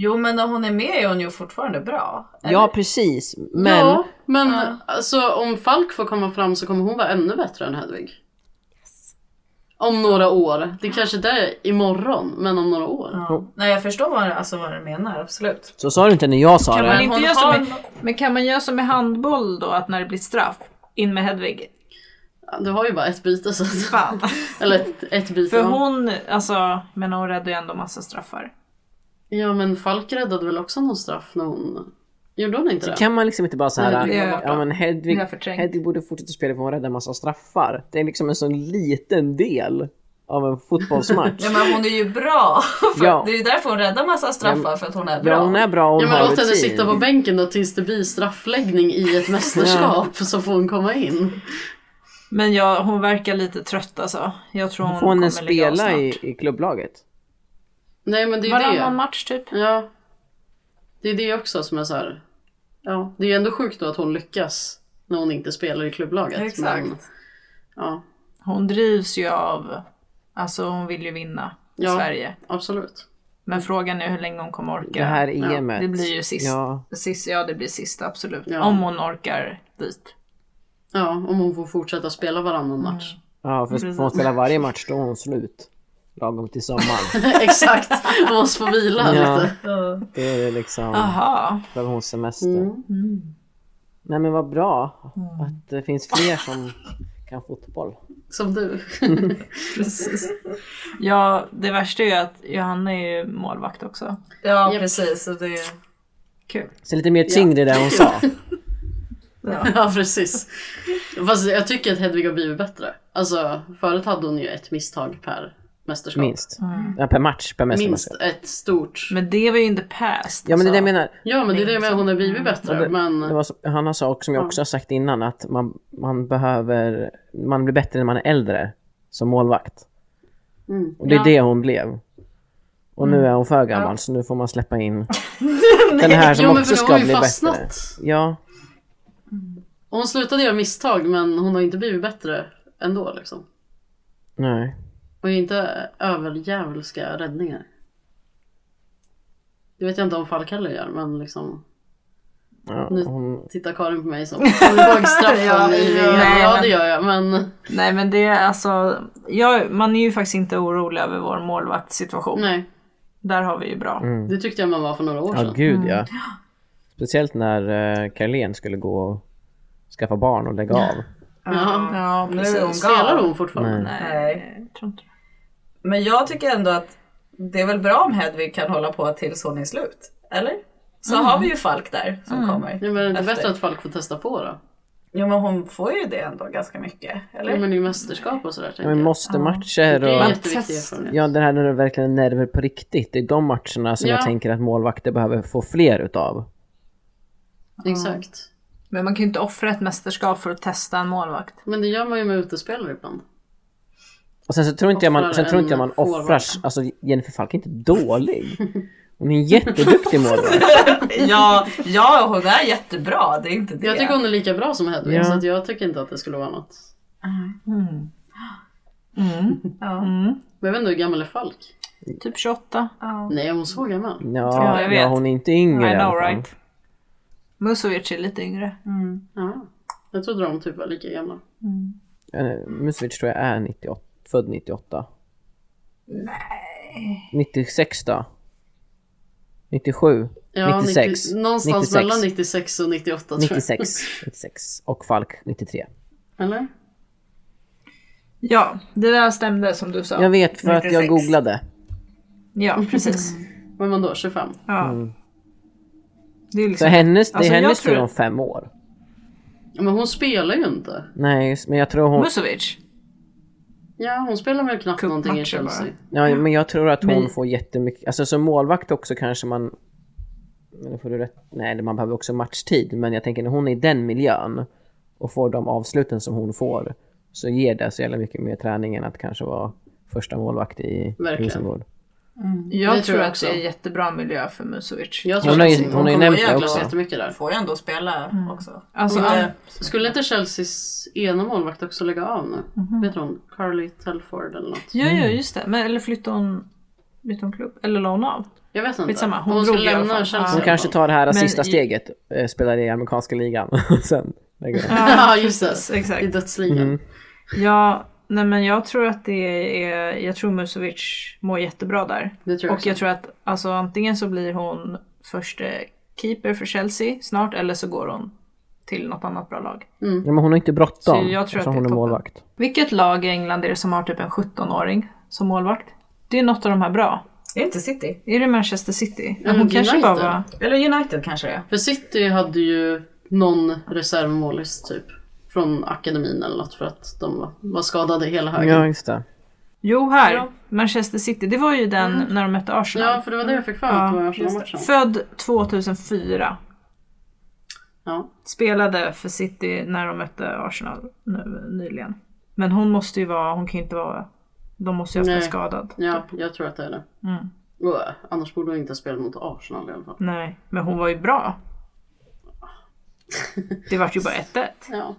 H: Jo men när hon är med är hon ju fortfarande bra.
F: ja precis. Men...
G: Men, men alltså om Falk får komma fram så kommer hon vara ännu bättre än Hedvig. Om några år. Det kanske inte är imorgon, men om några år.
H: Ja. Nej jag förstår vad, alltså, vad du menar, absolut.
F: Så sa du inte när jag sa
E: Kan
F: det.
E: man inte
H: hon
E: göra som
H: har
E: i, men kan man göra som i handboll då, att när det blir straff, in med Hedvig?
G: Du har ju bara ett byte så att-
F: <laughs>
E: Fan. <laughs>
G: Eller ett, ett byte.
E: För
G: ja.
E: hon, alltså, men hon räddade ju ändå massa straffar.
G: Ja men Falk räddade väl också någon straff när hon... Gjorde hon inte det?
F: Kan man liksom inte bara så här,
G: Nej,
E: det är borta.
F: ja men Hedvig,
E: Det har jag förträngt.
F: Hedvig borde fortsätta spela för hon räddar en massa straffar. Det är liksom en sån liten del av en fotbollsmatch.
H: <laughs> Ja, men hon är ju bra. <laughs>
F: Ja.
H: Det är ju därför hon räddar massa straffar för att hon är bra.
F: Ja hon är bra och
G: Ja
F: hon
G: men
F: har
G: låt henne
F: rutin.
G: sitta på bänken då tills det blir straffläggning
E: <laughs>
G: i ett mästerskap så får hon komma in.
E: Men jag, hon verkar lite trött alltså. Jag tror hon,
F: Får henne
E: kommer lägga av
F: spela
E: snart.
F: i, i klubblaget?
G: Nej men det är ju det.
E: Varannan match typ.
G: Ja. Det är det också som är så här. Ja, det är ju ändå sjukt då att hon lyckas när hon inte spelar i klubblaget.
H: Exakt.
G: Men, ja,
E: Hon drivs ju av, alltså hon vill ju vinna
G: Ja.
E: Sverige.
G: absolut.
E: Men frågan är hur länge hon kommer orka.
F: Det här EMet.
E: det blir ju sist.
F: Ja.
E: Sist, ja det blir sista absolut.
G: Ja.
E: Om hon orkar dit.
G: Ja, om hon får fortsätta spela varannan match.
F: Ja, för får hon spela varje match då är hon slut. Lagom till
G: <laughs>
F: sommaren.
G: Exakt, hon måste få vila
F: Ja,
G: lite.
F: det är liksom,
E: Aha.
F: behöver hon semester.
G: Mm.
F: Nej men vad bra att det finns fler som kan fotboll.
G: Som du.
E: Precis. Ja, det värsta är ju att Johanna är ju målvakt också.
H: Ja
G: Japp. <laughs>
H: precis. Så det...
E: Kul.
F: Så lite mer tyngd i det hon sa.
G: ja, precis. Fast jag tycker att Hedvig har blivit bättre. Alltså förut hade hon ju ett misstag per mästerskap.
F: Minst. Ja, per match, per
G: Minst
F: mästerskap.
G: ett stort.
E: Men det var ju in the past.
F: Ja men
E: alltså.
F: det är det jag menar.
G: Ja men det är det jag menar, hon har blivit
F: Ja,
G: bättre.
F: Det
G: Men
F: var, så- han har sagt, som jag också har sagt innan, att man, man behöver, man blir bättre när man är äldre som målvakt.
G: Mm.
F: Och det är
B: Ja.
F: det hon blev. Och nu är hon för gammal så nu får man släppa
G: <laughs>
F: in den här som
G: Jo, men
F: också
G: för
F: ska
G: nu har hon ju
F: bli bättre.
G: fastnat.
F: Ja,
G: hon slutade göra misstag men hon har inte blivit bättre ändå liksom.
F: nej.
G: Och inte överjävulska räddningar. Det vet jag inte om Falkenberg gör men liksom.
F: Ja,
G: Nu-
F: hon,
G: Tittar Karin på mig som kommer
E: <laughs>
G: ihåg straffen
E: Ja,
G: i
E: ja.
G: VM.
E: Nej,
G: Ja
E: men-
G: det gör jag men
E: Nej men det är alltså, jag, man är ju faktiskt inte orolig över vår målvaktssituation.
G: nej.
E: Där har vi ju bra.
F: Mm.
G: Det tyckte jag man var för några år
F: ja
G: sedan.
F: gud ja. Speciellt när eh, Carlén skulle gå och skaffa barn och lägga av.
G: Ja.
E: Ja,
H: Nu är hon
G: Spelar
H: gal.
G: hon fortfarande?
F: Nej.
E: Nej, jag tror inte det.
H: Men jag tycker ändå att det är väl bra om Hedvig kan hålla på tills hon är slut. Eller? Så
E: Mm.
H: har vi ju Falk där som kommer.
G: Ja, men är det inte
H: efter.
G: bättre att Falk får testa på då?
H: Jo men hon får ju det ändå ganska mycket. Eller?
G: Ja, men i mästerskap och sådär tänker
F: Men
G: jag.
F: måste matcher
G: Det är
F: och...
G: en jätteviktig
B: test-
G: erfarenhet.
F: Ja, den här när det verkligen är nerver på riktigt. Det är de matcherna som
G: Ja.
F: jag tänker att målvakter behöver få fler utav.
G: Exakt.
E: Men man kan ju inte offra ett mästerskap för att testa en målvakt.
G: Men det gör man ju med utespelare ibland.
F: Och sen så tror inte jag man,
G: Offrar
F: sen tror inte jag
G: en
F: man
G: forward.
F: offrar... Alltså Jennifer Falk är inte dålig. Hon är en jätteduktig målvakt.
H: ja, ja, hon är jättebra. Det är inte det.
G: Jag tycker hon är lika bra som Hedvig
F: Ja.
G: så att jag tycker inte att det skulle vara något.
H: Ja.
G: Men jag vet inte hur gammal är Falk?
E: Mm. Typ 28.
G: Nej, är hon så gammal?
F: Ja,
E: Ja, jag
F: ja
E: vet.
F: hon är inte yngre
E: I
F: i alla
E: know
F: fall.
E: right. Mm. Musovic är lite yngre.
G: Ja. Jag trodde de typ var lika gamla.
F: Eh, Musovic tror jag är 98, född 98. Nej. 96 då? 97?
G: Ja,
F: 96.
G: 90, någonstans
F: 96.
G: mellan 96 och 98 tror jag.
F: 96. 96. Och Falk 93.
G: Eller?
E: Ja, det där stämde som du sa.
F: Jag vet för att jag
H: 96.
F: googlade.
E: Ja, precis.
G: Vad är man då? 25?
E: Ja. Det är
F: Mm. Så
E: liksom...
F: hennes, det är
E: Alltså, jag
F: hennes
E: tror-
F: tur om fem år.
G: Ja, Men hon spelar ju inte.
F: Nej, just- men jag tror hon...
E: Musovic.
G: Ja, hon spelar väl knappt
E: Cupmatcher
G: någonting i Chelsea.
F: Ja, men jag tror att hon
E: Men-
F: får jättemycket... Alltså som målvakt också kanske man... Men då får du rätt. Nej, man behöver också matchtid. Men jag tänker när hon är i den miljön och får de avsluten som hon får så ger det så jävla mycket mer träning än att kanske vara första målvakt i
G: Verkligen.
F: Rosengård.
E: Jag tror,
G: Det tror jag
E: att
G: också.
E: det är jättebra miljö för Musovic.
G: Jag tror
F: Hon har ju-
G: att
F: hon har ju
G: kommer
F: nämnt det
G: jäklas
F: också.
G: jättemycket där.
H: Får ju ändå spela också.
E: Alltså,
H: Hon är-
E: ja.
G: Skulle inte Chelseas ena målvakt också lägga av nu?
E: Mhm.
G: Vet du hon? Carly Telford eller något?
E: Ja, ja, just det. Men, eller flyttade hon... Bytte hon klubb? Eller la hon av?
G: Jag vet inte.
E: Skitsamma, hon
G: hon skulle
E: drog i alla
G: lämna
E: fall.
G: Chelsea.
E: Ja.
G: i
F: Hon
G: alla
F: kanske
G: fall.
F: tar det här
E: Men
F: sista
E: i-
F: steget, eh, spelar i amerikanska ligan <laughs> och sen
E: Mm.
F: lägger hon.
G: Ja, <laughs> just
E: <laughs>
G: det.
E: Exakt.
G: I dödsligan.
F: Mm.
E: Ja, nej men jag tror att det är, jag tror Musovic mår jättebra där.
G: Det tror jag
E: och jag tror att alltså, antingen så blir hon första keeper för Chelsea snart eller så går hon till något annat bra lag.
F: Ja, men hon har
E: Så
F: inte
E: jag
F: bråttom
E: tror att
F: eftersom
E: det är
F: hon är
E: toppen.
F: målvakt.
E: Vilket lag i England är det som har typ en 17-åring som målvakt? Det är något av de här bra.
H: Är det inte City?
E: Är det Manchester City? Ja,
G: Mm,
E: hon kanske bara
G: United.
E: var...
H: Eller United kanske det är.
G: För City hade ju någon reservmålis typ. Från akademin eller något för att de var- var skadade hela högen.
F: Ja,
G: Ja,
F: just det.
E: Jo, här! Manchester City, det var ju den när de mötte Arsenal.
G: Mm. för det var det jag fick fram på
E: Ja,
G: Arsenal-matchen.
E: Född 2004.
G: Ja.
E: Spelade för City när de mötte Arsenal nu nyligen. Men hon måste ju vara, hon kan ju inte vara, de måste ju ha varit
G: Nej.
E: skadad.
G: ja, jag tror att det är det.
E: Mm.
G: Och, äh, annars borde hon inte ha spelat mot Arsenal i alla fall.
E: <laughs> Nej, men hon var ju bra. Det vart ju bara 1-1.
G: Ja.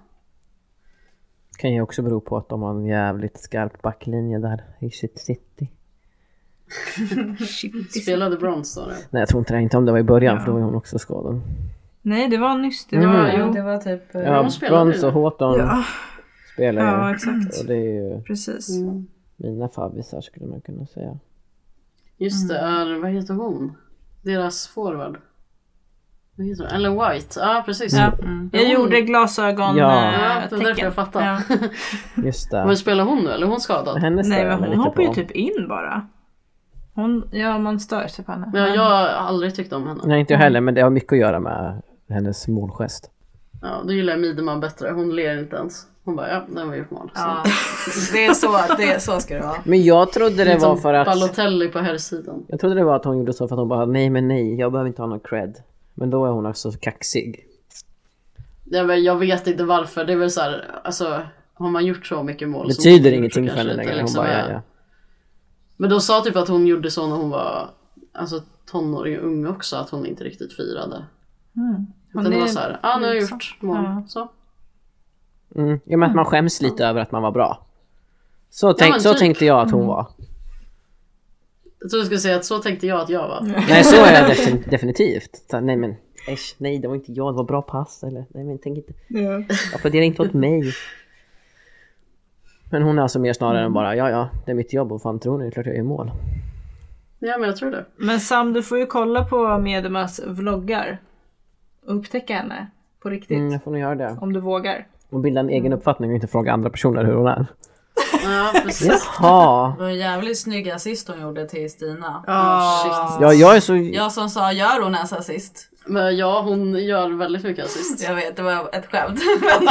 F: Kan ju också bero på att de har en jävligt skarp backlinje där i sitt city.
E: Shit.
G: Spelade brons då. det.
F: Nej, jag tror inte det. Inte om det var i början, för då var hon också skadad.
E: Nej, det var nyss. Det
F: Mm.
E: var,
F: Ja,
E: jo.
H: det var typ... eh,
F: Ja,
G: de spelar
F: Brons
G: nu.
F: och Håton
E: Ja.
F: spelar ju.
E: ja, exakt.
F: Och det är ju
E: Precis.
G: Mm.
F: mina favvisar skulle man kunna säga.
G: Just det,
E: Mm.
G: är, vad heter hon? Deras forward. Vad heter hon? Ellen White. Ja, ah, precis.
E: Ja. Jag
G: Hon-
E: gjorde glasögon
F: Ja.
E: eh,
G: Mm. Ja, det var därför
E: tecken.
G: jag fattade.
E: Ja.
F: Just
G: <laughs> Men
F: det.
G: spelar hon nu eller är hon skadad?
F: Hennes
E: Nej,
F: stör
E: men
F: jag mig
E: hon
F: lite
E: hoppar ju
F: på.
E: typ in bara. Hon, ja, man stör sig på henne.
G: Ja, jag har aldrig tyckt om henne.
F: Nej, inte jag heller, men det har mycket att göra med hennes målgest.
G: Ja, då gillar jag Mideman bättre. Hon ler inte ens. Hon bara, ja, den har gjort mål. Så.
H: Ja, det är så, det är, så ska det vara.
F: Men jag trodde det
G: Lite
E: Liksom
F: var
G: som
F: för att...
G: Balotelli på här sidan.
F: Jag trodde det var att hon gjorde så för att hon bara nej men nej, jag behöver inte ha någon cred. Men då är hon också kaxig.
G: Ja, men jag vet inte varför. Det är väl så här, alltså har man gjort så mycket mål
F: Det
G: så
F: betyder
G: borde
F: ingenting
G: kanske
F: för henne
G: lite
F: längre. Hon
G: liksom,
F: bara ja ja.
G: Men de sa typ att hon gjorde så när hon var alltså, tonåring och ung också, att hon inte riktigt firade.
E: Hon
G: Utan det
E: är-
G: var så här, ja ah, nu har jag
E: liksom.
G: gjort mål.
E: Ja.
G: Så.
F: Mm. Ja men att man skäms lite över att man var bra. Så, tänk,
G: men
F: så
G: typ.
F: tänkte jag att hon var.
G: Jag trodde du skulle säga att så tänkte jag att jag var.
F: Nej så är jag defin- definitivt. Så, nej men äsch, nej det var inte jag, det var bra pass eller nej men tänk inte. Applådera inte åt mig. Men hon är alltså mer snarare än bara ja ja, det är mitt jobb och fan tror ni, det är klart jag gör mål.
G: Ja men jag tror det.
E: Men Sam, du får ju kolla på Medemas vloggar. Och upptäcka henne på riktigt.
F: Mm, jag får nog göra det.
E: Om du vågar.
F: Och bilda en egen uppfattning och inte fråga andra personer hur hon är.
G: Ja precis.
F: Jaha!
H: Det var en jävligt snygg assist hon gjorde till Stina.
G: Ah,
F: <laughs>
G: shit.
F: Ja, jag är så...
H: Jag som sa, gör hon ens assist?
G: Men ja hon gör väldigt mycket assist.
H: Jag vet, det var ett <laughs> skämt. Men,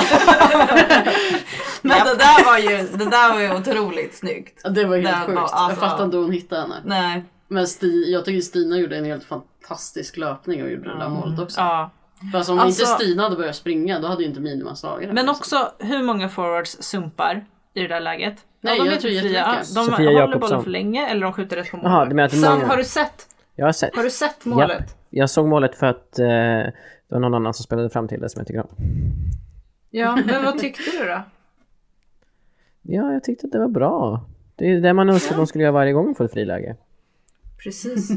H: men det, där var ju, det där var ju otroligt snyggt.
G: Det var
H: Den
G: helt
H: var-
G: sjukt. Jag
H: alltså-
G: fattar inte hur hon hittade henne.
H: Nej.
G: Men Sti, jag tycker Stina gjorde en helt fantastisk löpning och gjorde det där målet också.
E: Ja.
G: För alltså, om
E: Alltså-
G: inte Stina hade börjat springa då hade ju inte Minima slagit henne,
E: Men
G: liksom.
E: också hur många forwards sumpar i det där läget?
G: Nej,
E: ja, de
G: jag
E: är
G: tror
E: typ fria.
G: jättemycket.
E: De
F: Sofia
E: håller
F: Jakobsson.
E: bollen för länge eller de skjuter rätt på målet.
F: Jaha, du menar att det är
E: Sam,
F: många-
E: har du sett?
F: Jag har sett.
E: Har du sett målet?
F: Jag såg målet för att eh, det var någon annan som spelade fram till det som jag tycker om.
E: Ja, men vad tyckte du då?
F: Ja, jag tyckte att det var bra. Det är ju det man önskar att de skulle göra varje gång för ett friläge.
G: <laughs>
E: Precis.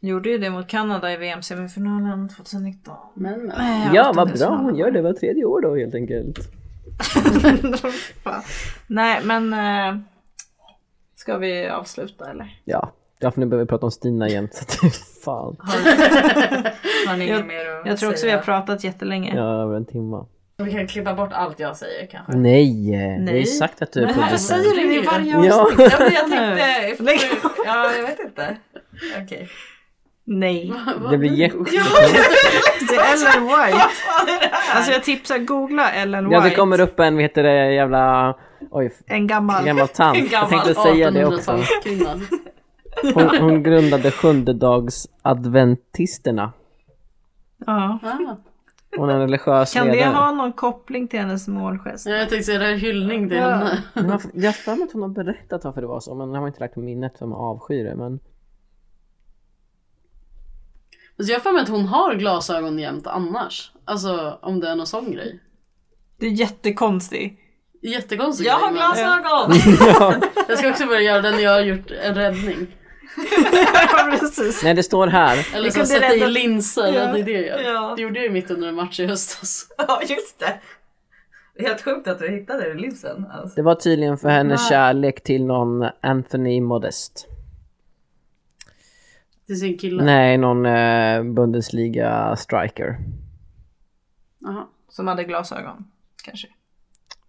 E: Gjorde ju det mot Kanada i VM-semifinalen 2019.
G: Men, eh, men.
E: Nej,
F: Ja, vad bra
E: åttondelsfinalen.
F: hon gör det var tredje år då helt enkelt.
E: Fan. Nej, men... eh, Ska vi avsluta eller?
F: Ja, ja för nu behöver vi prata om Stina igen. <laughs> Så att, fan.
H: Har ni inget
E: Jag-
H: mer att
E: Jag tror också vi
H: säga?
E: har pratat jättelänge.
F: Ja, över en timma.
H: Vi kan klippa bort allt jag säger kanske.
F: Nej! Nej. Det är ju
E: Nej.
F: sagt att du är
E: Men varför
F: producent.
E: säger du det i varje avsnitt?
F: Ja,
H: Ja, men jag <laughs> tänkte...
E: Lägg
H: Ja, jag vet inte. Okej. <laughs>
E: Nej.
F: <laughs> det blir jätte...
E: Det är Ellen White. Alltså jag tipsar googla Ellen White.
F: Ja, det kommer upp en, vad heter det, jävla... Oj,
E: En <laughs> gammal.
F: gammal tant.
H: gammal
F: jag tänkte säga det också.
E: <laughs>
G: 1800-talskvinna.
F: Hon, hon grundade sjundedagsadventisterna.
E: Ja.
G: Ah,
F: Hon är en religiös
E: Kan det
F: ledare.
E: ha någon koppling till hennes målgest?
G: ja, jag tänkte säga det här är hyllning till henne.
H: <laughs>
F: Men varför- Jag har för mig att hon har berättat varför det var så, men jag har inte lagt på minnet för man avskyr det. Men
G: Alltså, jag har för mig att hon har glasögon jämt annars. Alltså om det är någon sån grej.
E: Det är jättekonstigt.
G: Jättekonstig
H: Jag
G: grej,
H: har
G: men-
H: glasögon!
G: Jag ska också börja göra det när jag har gjort en räddning.
E: <laughs> Ja, precis.
F: nej, det står här.
G: Eller så
E: kunde
G: sätta i
E: rädda-
G: linser. Ja. Det är det jag gör.
H: Ja.
G: Det gjorde jag ju mitt under en match i höstas.
H: <laughs>
G: <laughs>
H: Ja, just det. Det är helt sjukt att du hittade linsen. Alltså.
F: Det var tydligen för hennes kärlek till någon Anthony Modest.
G: Till sin kille.
F: Nej, någon eh, Bundesliga striker.
G: Aha.
E: Som hade glasögon. Kanske.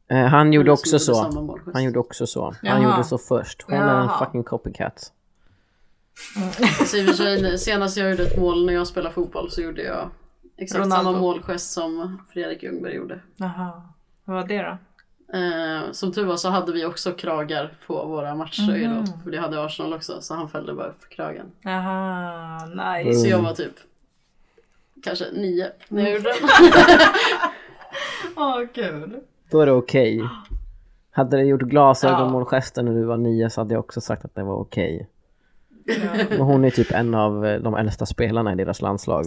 F: Eh, han gjorde
G: Eller
F: också
G: som gjorde
F: så.
G: samma målgest.
F: Han gjorde också så. Han
H: Jaha.
F: gjorde så först. Hon är en
H: Jaha.
F: fucking copycat.
G: Så Alltså, i och för sig, senast jag gjorde ett mål när jag spelade fotboll så gjorde jag exakt samma
E: Ronaldo.
G: målgest som Fredrik Ljungberg gjorde.
E: Jaha. Vad var det då?
G: Eh, som tur var så hade vi också kragar på våra matchtröjor då, för det hade Arsenal också så han fällde bara upp kragen.
E: Jaha. Nice.
F: Mm.
G: Så jag var typ kanske nio när jag gjorde den.
H: Åh, kul.
F: Då är det okej. Hade du gjort glasögonmålgesten när du var nio så hade jag också sagt att det var okej. Men hon är typ en av eh, de äldsta spelarna i deras landslag.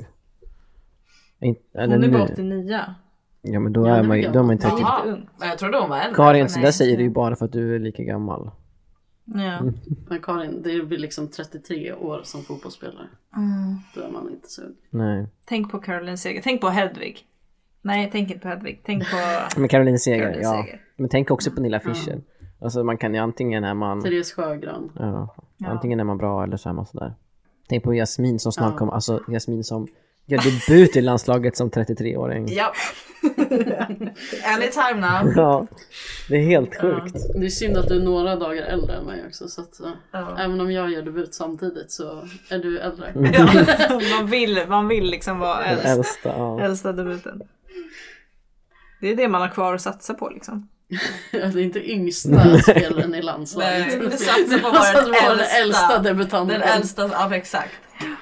F: In, eller
E: Hon är bara
F: nu.
E: 89.
F: Ja men då
G: Ja,
F: är
G: nu
F: man
G: är
F: ju,
G: jag
F: då är man inte riktigt...
H: Jaha,
E: ung.
H: men jag trodde hon var äldre.
F: Karin, så
H: Nej.
F: där säger du ju bara för att du är lika gammal.
E: Ja.
G: Men Karin, det blir liksom 33 år som fotbollsspelare. Då är man inte så ung.
F: Nej.
E: Tänk på Caroline Seger. Tänk på Hedvig. Nej, tänk inte på Hedvig. Tänk <laughs> på...
F: Men Caroline Seger,
E: Caroline
F: ja.
E: Seger.
F: Men tänk också på Nilla Fischer. Alltså man kan ju antingen är man...
G: Therese Sjögran.
F: Ja. Antingen är man bra eller så är man sådär. Tänk på Jasmin som snart
G: Ja.
F: kommer, alltså Jasmin som Gör debut i landslaget som 33-åring.
E: <laughs>
H: Ja. Anytime now.
F: Ja, det är helt sjukt.
G: Det är synd att du är några dagar äldre än mig också. Så att, eh,
H: Ja.
G: Även om jag gör debut samtidigt så är du äldre.
E: <laughs> Man vill, man vill liksom vara
F: Den
E: äldst.
F: äldsta. Ja.
E: Äldsta debuten. Det är det man har kvar att satsa på liksom.
G: <laughs> Ja, det är Alltså, inte yngsta spelaren i landslaget.
H: Nej,
G: <laughs>
H: vi satsar på
E: <laughs>
G: Alltså,
H: vår
G: det var den äldsta debutanten.
H: Den äldsta, ja exakt.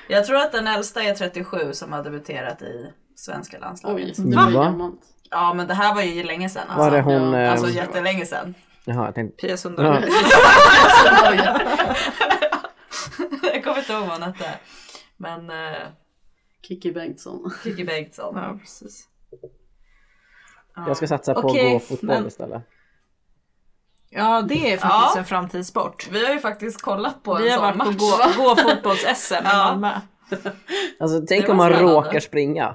H: Jag tror att den äldsta är 37 som har debuterat i svenska
G: Oj,
H: landslaget.
G: det var
F: Va?
G: gammalt.
H: Ja men det här var ju länge sedan alltså.
F: Var det hon...
G: Ja,
F: eh,
H: Alltså jättelänge sedan.
F: jaha, jag tänkte...
E: Pia Sundhage.
F: Ja,
H: <laughs> jag kommer inte ihåg vad hon hette. Men
E: eh,
H: uh,
G: Kikki Bengtsson.
H: Kikki Bengtsson.
E: Ja, precis.
F: jag ska satsa på att
E: Okej,
F: gå fotboll
E: men-
F: istället.
E: Ja, det är faktiskt
H: Ja.
E: en framtidssport.
H: Vi har ju faktiskt kollat på
E: Vi
H: en
E: har
H: sån
E: varit på
H: match.
E: gå,
H: <laughs>
E: gå fotbolls-SM i
H: Ja.
E: Malmö.
F: Alltså tänk
H: var
F: om man
H: spännande.
F: råkar springa.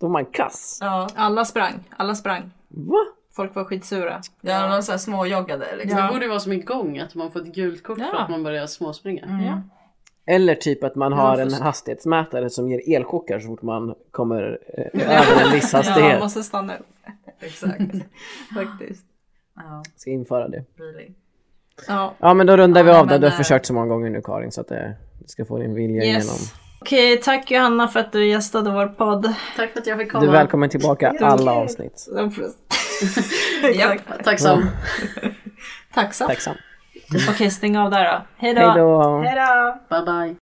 F: Då är man kass.
H: Ja,
E: Alla sprang, alla sprang.
F: Va?
E: Folk var skitsura.
H: ja de så här småjoggade liksom.
E: Ja.
G: Det borde ju vara som igång att man får ett gult kort för
E: Ja.
G: att man börjar småspringa.
F: Eller typ att man har en
E: först-
F: hastighetsmätare som ger elchocker så fort man kommer eh, över en viss
E: Ja, man
F: hastighet.
E: måste stanna upp
H: Exakt. <laughs>
E: faktiskt.
H: Ja,
F: Ska införa det.
H: really.
E: Ja.
F: Ja men då rundar vi
E: Ja,
F: av
E: men
F: där. Du har
E: där-
F: försökt så många gånger nu Karin så att eh, du ska få din vilja igenom.
E: Yes. Okej, tack Johanna för att du gästade vår podd.
G: Tack för att jag fick
F: Du är
G: komma.
F: välkommen tillbaka alla avsnitt.
H: Japp.
G: Tacksam.
E: Tacksam.
F: Tacksam.
E: Okej, stäng av där då. Hej då.
F: Hej då.
G: Bye bye.